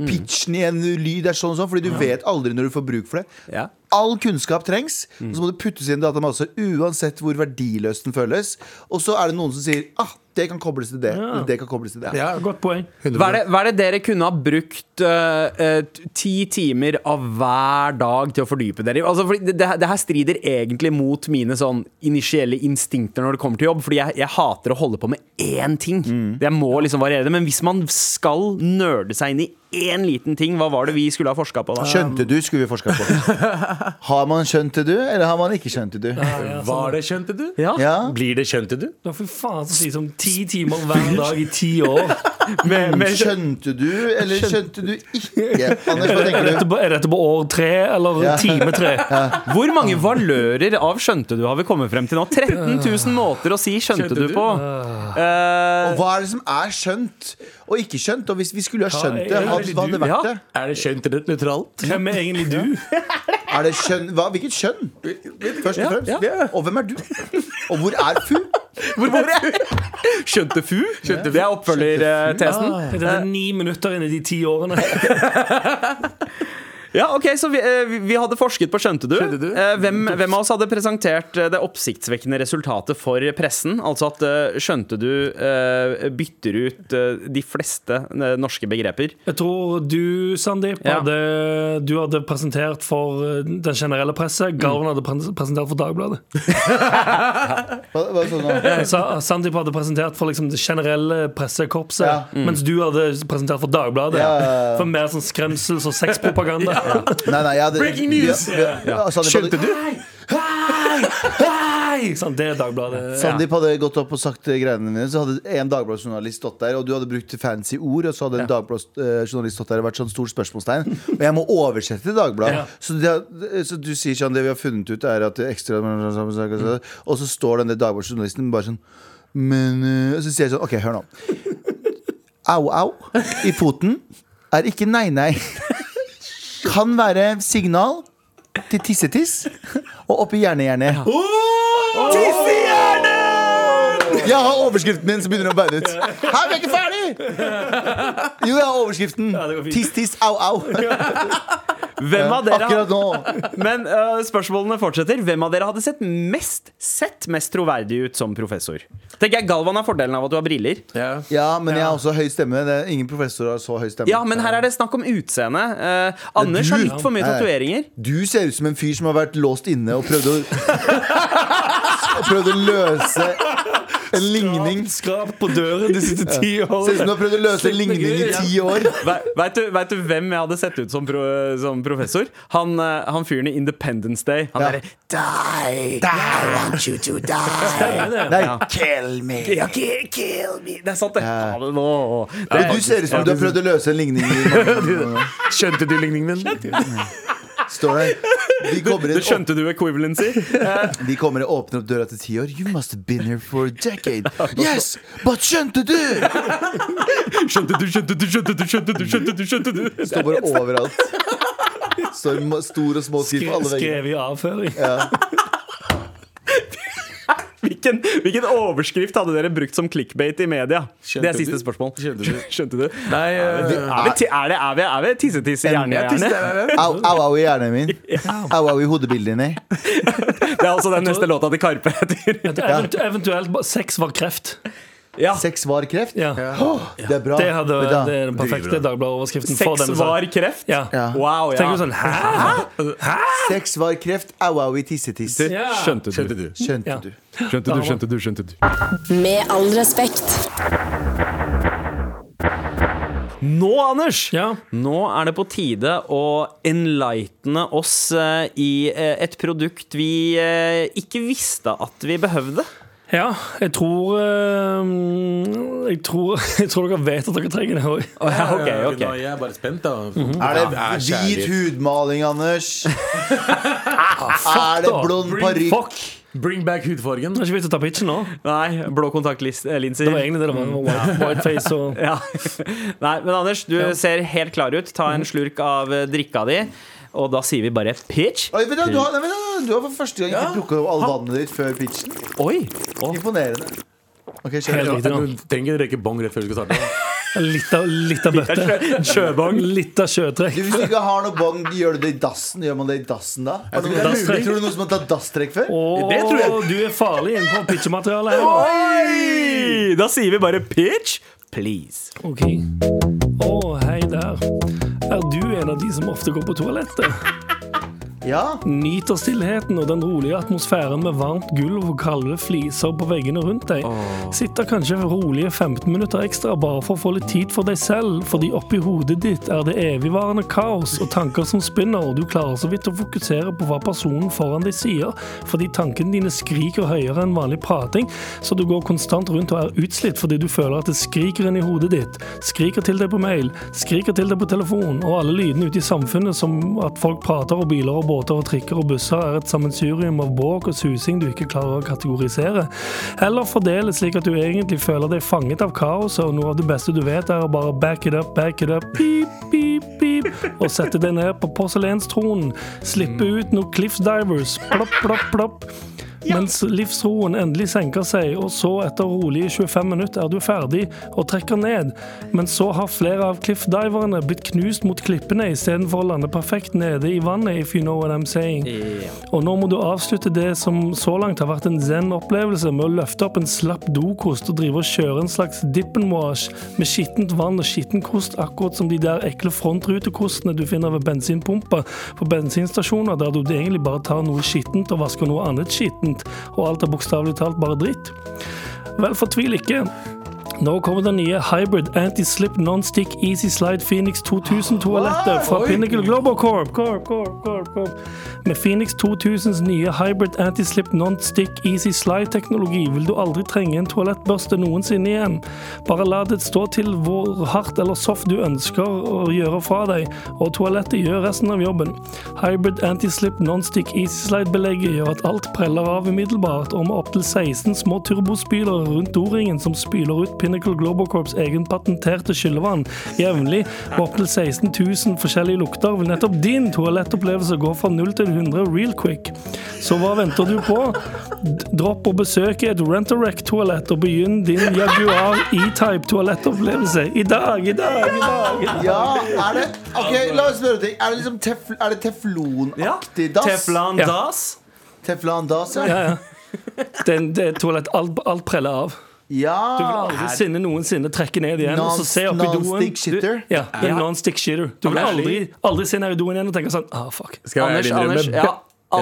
Speaker 3: pitchen i en lyd er sånn og sånn, fordi du vet aldri når du får bruk for det.
Speaker 2: Ja.
Speaker 3: All kunnskap trengs, og så må det puttes i en datamasse uansett hvor verdiløs den føles. Og så er det noen som sier ah, det kan kobles til det, eller det kan kobles til det.
Speaker 5: Ja,
Speaker 4: Godt poeng.
Speaker 2: Hva er, det, hva er det dere kunne ha brukt eh, eh, t- ti timer av hver dag til å fordype dere i? Altså, fordi det, det, her- det her strider egentlig mot mine sånn initielle instinkter når det kommer til jobb. Fordi jeg, jeg hater å holde på med én ting. Jeg må liksom variere det. Men hvis man skal nerde seg inn i én liten ting, hva var det vi skulle ha forska på da?
Speaker 3: Skjønte du, skulle vi forska på. Har man skjønt det, du, eller har man ikke skjønt det, du?
Speaker 5: Var det skjønte du?
Speaker 2: Ja.
Speaker 3: Ja.
Speaker 5: Blir det skjønte du?
Speaker 4: Da sånn, får vi faen så si som ti timer hver dag i ti år.
Speaker 2: Med, med,
Speaker 3: Skjønte du, eller skjønte du ikke? Anders, hva
Speaker 4: Er
Speaker 3: tenker
Speaker 4: dette
Speaker 3: du?
Speaker 4: på, er dette på år tre eller
Speaker 3: Ja.
Speaker 4: time tre?
Speaker 2: hvor mange valører av skjønte du har vi kommet frem til nå? 13 000 måter å si skjønte, du
Speaker 5: Skjønte du?
Speaker 2: på. Eh,
Speaker 3: Og hva er det som er skjønt og ikke skjønt? Og hvis vi skulle ha skjønt det, hva hva hadde det
Speaker 2: Ja.
Speaker 3: vært det?
Speaker 5: Er det skjønt eller nøytralt?
Speaker 4: Hvem er egentlig du?
Speaker 3: Er det skjønn? Hva, hvilket skjønn? Først og fremst. Og hvem er du? Og hvor er Fu?
Speaker 2: Skjønte fu? Det er oppfølgertesen.
Speaker 4: Er dette ni minutter inn i de ti årene?
Speaker 2: Ja, ok, så vi, eh, vi- vi hadde forsket på skjønte du.
Speaker 5: Skjønte du?
Speaker 2: Eh, Hvem, hvem av oss hadde presentert eh, det oppsiktsvekkende resultatet for pressen? Altså at eh, skjønte du eh, bytter ut eh, de fleste eh, norske begreper.
Speaker 4: Jeg tror du, Sandeep,
Speaker 2: Ja.
Speaker 4: hadde, du hadde presentert for eh, den generelle presset. Garven hadde pres- presentert for Dagbladet.
Speaker 3: Hva, hva, sånn, nå?
Speaker 2: Eh,
Speaker 4: Sa- Sandeep hadde presentert for liksom, det generelle pressekorpset,
Speaker 3: Ja.
Speaker 2: Mm.
Speaker 4: mens du hadde presentert for Dagbladet.
Speaker 3: Ja, ja, ja.
Speaker 4: For mer sånn skremsels- og sexpropaganda.
Speaker 3: Nei, nei, jeg hadde,
Speaker 5: Breaking news!
Speaker 3: Vi- vi- ja, Altså, Sandeep hadde-
Speaker 5: Skjønte du?
Speaker 4: Nei, sant, det er Dagbladet.
Speaker 3: Sandeep hadde gått opp og sagt eh, greiene dine, så hadde en dagbladsjournalist stått der, og du hadde brukt fancy ord, og så hadde en dagbladsjournalist stått der og vært sånn stort spørsmålstegn. Og jeg må oversette til Dagbladet.
Speaker 4: Ja.
Speaker 3: Så, det- så du sier sånn Det vi har funnet ut, er at det er ekstra Og så står den der dagbladsjournalisten bare sånn Men eh, Og så sier jeg sånn OK, hør nå. Au, au i foten er ikke nei-nei. Kan være signal til tissetiss og oppi hjerne-hjerne.
Speaker 5: Tissehjerne!
Speaker 3: Jeg har overskriften min som begynner å bære ut. Her er vi ikke ferdig! Jo, jeg har overskriften.
Speaker 4: det går fint.
Speaker 3: Tiss, tiss, au, au.
Speaker 2: Hvem av dere
Speaker 3: Akkurat nå.
Speaker 2: Men eh, spørsmålene fortsetter. Hvem av dere hadde sett mest, sett mest troverdig ut som professor? Tenker jeg Galvan har fordelen av at du har briller.
Speaker 5: Ja.
Speaker 3: Ja, men jeg har også høy stemme. Det er ingen professorer har så høy stemme.
Speaker 2: Ja, men her er det snakk om utseende. Eh, Anders har
Speaker 3: du.
Speaker 2: litt for mye
Speaker 3: Nei.
Speaker 2: tatoveringer.
Speaker 3: Du ser ut som en fyr som har vært låst inne og prøvd å Og prøvd å løse en ligning.
Speaker 4: Skrap på døren de siste ti
Speaker 3: Ser ut som
Speaker 4: årene.
Speaker 3: du har prøvd å løse en ligning i ti år.
Speaker 2: Veit du, vet du hvem jeg hadde sett ut som, pro, som professor? Han, eh, han fyren i Independence Day. Han
Speaker 3: Ja.
Speaker 2: derre
Speaker 3: Nei,
Speaker 2: Ja.
Speaker 3: kill me.
Speaker 2: ja, ki- kill me. Det er sant, det.
Speaker 3: Ja.
Speaker 2: Ja, men nå-
Speaker 3: Men Du ser ut som du har prøvd å løse en ligning i
Speaker 5: Skjønte du ligningen min?
Speaker 3: Står der. De kommer
Speaker 2: Du
Speaker 3: inn, åp-
Speaker 2: skjønte du equivalency? Eh,
Speaker 3: de kommer og åpner opp døra til ti år. You must have been here for a decade. Yes, but skjønte du?
Speaker 2: Skjønte du, skjønte du, skjønte du, skjønte du, skjønte du, skjønte du?
Speaker 3: Står bare overalt. Står ma- stor og små skrift på alle veggene.
Speaker 4: Skrevet i avføring.
Speaker 2: Hvilken, hvilken overskrift hadde dere brukt som clickbait i media? det er siste spørsmål.
Speaker 5: Skjønte du?
Speaker 2: Skjønte du?
Speaker 5: Nei, eh,
Speaker 2: Er vi, ti- er det, er vi, er vi tisse-tisse i hjernehjerne?
Speaker 3: Au, au, au i hjernen min. Au, au i hodebildene dine.
Speaker 2: Det er altså den neste låta til Karpe heter.
Speaker 4: Eventu eventuelt ba- sex var kreft.
Speaker 2: Ja.
Speaker 3: Sex var kreft.
Speaker 4: Ja.
Speaker 3: Åh, det er bra.
Speaker 4: Det, hadde, eh,
Speaker 3: Vet du hva?
Speaker 4: det er den perfekte Dagbladet-overskriften for
Speaker 2: Sex
Speaker 4: denne
Speaker 2: var
Speaker 4: saken.
Speaker 2: kreft?
Speaker 4: Ja.
Speaker 3: Ja.
Speaker 2: Wow,
Speaker 4: Så
Speaker 2: ja.
Speaker 4: tenker du sånn Hæ?
Speaker 3: Sex var kreft. Au, au i tissetiss.
Speaker 2: Du,
Speaker 4: Ja.
Speaker 2: Skjønte du?
Speaker 5: skjønte du?
Speaker 3: Skjønte
Speaker 4: Ja.
Speaker 3: du?
Speaker 5: Skjønte du, skjønte du, skjønte du?
Speaker 6: Med all respekt.
Speaker 2: Nå, Anders,
Speaker 4: Ja.
Speaker 2: nå er det på tide å enlightene oss eh, i eh, et produkt vi eh, ikke visste at vi behøvde.
Speaker 4: ja, jeg tror eh, Jeg tror, jeg tror dere vet at dere trenger det òg.
Speaker 2: Oh, ja, ok,
Speaker 5: Ja,
Speaker 2: ok.
Speaker 5: nå, Jeg er bare spent, da. Mhm.
Speaker 3: Er det
Speaker 5: Ja,
Speaker 3: hvit
Speaker 5: kjærlighet.
Speaker 3: hudmaling, Anders?
Speaker 4: Ah,
Speaker 3: Er det blond parykk?
Speaker 4: Fuck!
Speaker 5: Bring back hudfargen.
Speaker 4: Det er ikke vits å ta pitchen nå.
Speaker 2: Nei, blå kontaktlinser.
Speaker 4: Det var egentlig det det var. det var White, whiteface og
Speaker 2: Ja. Nei, men Anders, du
Speaker 4: Ja. Mhm.
Speaker 2: ser helt klar ut. Ta en slurk av eh, drikka di, og da sier vi bare pitch.
Speaker 3: Oi, vent da, du, har, nei, vent da, du har for første gang ikke plukket opp all vannet ditt før pitchen.
Speaker 2: Oi! Å,
Speaker 3: Imponerende. Ok,
Speaker 4: Helt
Speaker 3: kjør.
Speaker 4: riktig. nå.
Speaker 5: Du trenger ikke røyke bong rett før du skal starte.
Speaker 4: Litt av, litt av bøtte.
Speaker 2: Sjøbong.
Speaker 4: Litt av
Speaker 3: Du,
Speaker 4: sjøtrekk.
Speaker 3: hvis du ikke har noe bånd, gjør du det i dassen? Gjør man det i dassen da? Har du
Speaker 4: tror det er
Speaker 3: noen-
Speaker 4: dasstrekk.
Speaker 3: Tror du noen som har tatt dasstrekk før?
Speaker 4: Og
Speaker 2: Det tror jeg.
Speaker 4: du er farlig inne på pitchematerialet her. nå.
Speaker 2: Oi! Da sier vi bare pitch, please.
Speaker 4: Ok. Å, hei der. Er du en av de som ofte går på toalettet?
Speaker 3: Ja.
Speaker 4: Nyter stillheten og den rolige atmosfæren med varmt gulv og kalde fliser på veggene rundt deg. Sitter kanskje rolige 15 minutter ekstra bare for å få litt tid for deg selv, fordi oppi hodet ditt er det evigvarende kaos og tanker som spinner, og du klarer så vidt å fokusere på hva personen foran deg sier, fordi tankene dine skriker høyere enn vanlig prating, så du går konstant rundt og er utslitt fordi du føler at det skriker inn i hodet ditt, skriker til deg på mail, skriker til deg på telefon, og alle lydene ute i samfunnet som at folk prater og biler og båter og trikker og busser er et sammensurium av bråk og susing du ikke klarer å kategorisere. Eller fordele slik at du egentlig føler deg fanget av kaoset, og noe av det beste du vet er å bare back it up, back it up, pip, pip, pip, og sette deg ned på porselenstronen, slippe ut noen cliff divers, plopp, plopp, plopp. Mens livsroen endelig senker seg, og så etter rolige 25 minutter er du ferdig og trekker ned. Men så har flere av cliffdiverne blitt knust mot klippene istedenfor å lande perfekt nede i vannet, if you know what I'm saying. Og nå må du avslutte det som så langt har vært en zen-opplevelse med å løfte opp en slapp dokost og drive og kjøre en slags dip and wash med skittent vann og skitten kost, akkurat som de der ekle frontrutekostene du finner ved bensinpumper på bensinstasjoner, der du egentlig bare tar noe skittent og vasker noe annet skittent, og alt er bokstavelig talt bare dritt. Vel, fortvil ikke. Nå kommer den nye Hybrid Anti-Slip Non-Stick Easy Slide Phoenix 2000-toalettet fra Pinnacle Global Corp. Corp, Corp, Corp, Corp. Med Phoenix 2000s nye Hybrid Anti-Slip Non-Stick Easy Slide-teknologi vil du aldri trenge en toalettbørste noensinne igjen. Bare la det stå til hvor hardt eller soft du ønsker å gjøre fra deg, og toalettet gjør resten av jobben. Hybrid Anti-Slip Non-Stick Easy Slide-belegget gjør at alt preller av umiddelbart, og med opptil 16 små turbospylere rundt doringen som spyler ut Pinnacle Global Corps egen patenterte skyllevann jevnlig med opptil 16 000 forskjellige lukter, vil nettopp din toalettopplevelse gå fra 0 til 100 real quick. Så hva venter du på? D- Dropp å besøke et Rent-A-Wreck-toalett og begynn din Jaguar E-Type toalettopplevelse i dag, i dag, i dag. i dag.
Speaker 3: Ja, er det Ok, la oss spørre ting. Er det liksom tef er det teflonaktig dass?
Speaker 2: Teflon
Speaker 4: Ja.
Speaker 2: dass.
Speaker 3: Teflon dass, ja.
Speaker 4: Ja, ja. Det er en- det er et toalett alt, alt preller av. Du vil
Speaker 3: ja.
Speaker 4: aldri sinne noensinne trekke ned igjen og så se opp i doen.
Speaker 3: Non-stick shitter.
Speaker 4: Du- Ja, en non-stick shitter. Du vil
Speaker 2: det er
Speaker 4: aldri, aldri se ned i doen igjen og tenke sånn ah, fuck.
Speaker 5: Skal jeg
Speaker 2: Anders,
Speaker 5: ærlig innrømme
Speaker 2: Anders, jeg har
Speaker 5: Ja.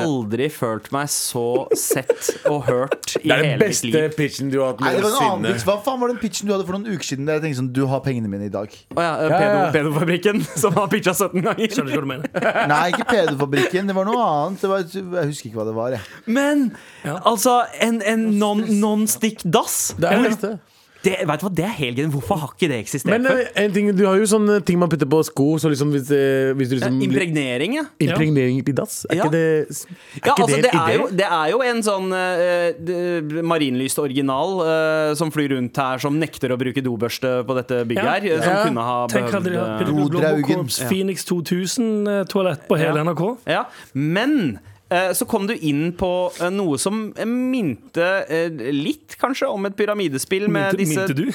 Speaker 2: aldri følt meg så sett og hørt i
Speaker 5: Det er den
Speaker 2: hele mitt
Speaker 5: beste
Speaker 2: liv.
Speaker 5: pitchen du har hatt
Speaker 3: Nei, det var en annen
Speaker 5: noensinne.
Speaker 3: pitch. Hva faen var den pitchen du hadde for noen uker siden? Der jeg tenkte sånn, du har pengene mine i dag
Speaker 2: Å ja, eh,
Speaker 5: Ja, ja.
Speaker 2: pedo- Pedofabrikken, som har pitcha 17 ganger.
Speaker 4: Skjønner du hva du mener?
Speaker 3: Nei, ikke pedofabrikken. Det var noe annet. Det var, jeg husker ikke hva det var. Jeg.
Speaker 2: Men altså, en, en non- non-stick dass
Speaker 5: Det er det beste.
Speaker 2: det, vet du hva, det er helt genialt. Hvorfor har ikke det eksistert
Speaker 5: Men
Speaker 2: før?
Speaker 5: eh, en ting, du har jo sånne ting man putter på sko, så liksom hvis, eh, hvis du liksom blir-
Speaker 2: Impregnering, ja.
Speaker 5: Impregnering i dass? Er
Speaker 2: Ja.
Speaker 5: ikke det, er
Speaker 2: ja
Speaker 5: ikke
Speaker 2: altså,
Speaker 5: det
Speaker 2: det,
Speaker 5: en
Speaker 2: er
Speaker 5: idé?
Speaker 2: jo, det er jo en sånn eh, d- marinlyst original eh, som flyr rundt her, som nekter å bruke dobørste på dette bygget
Speaker 4: Ja.
Speaker 2: her. eh, Som
Speaker 5: Ja.
Speaker 2: kunne ha
Speaker 4: Tenk hadde de hatt
Speaker 2: eh,
Speaker 4: Pinnacle Global
Speaker 3: Rodraugen.
Speaker 4: Corps Phoenix 2000-toalett på hele
Speaker 2: Ja.
Speaker 4: NRK.
Speaker 2: Ja, men eh, så kom du inn på eh, noe som eh, minte eh, litt, kanskje, om et pyramidespill med
Speaker 4: Minte-
Speaker 2: disse
Speaker 4: minte du?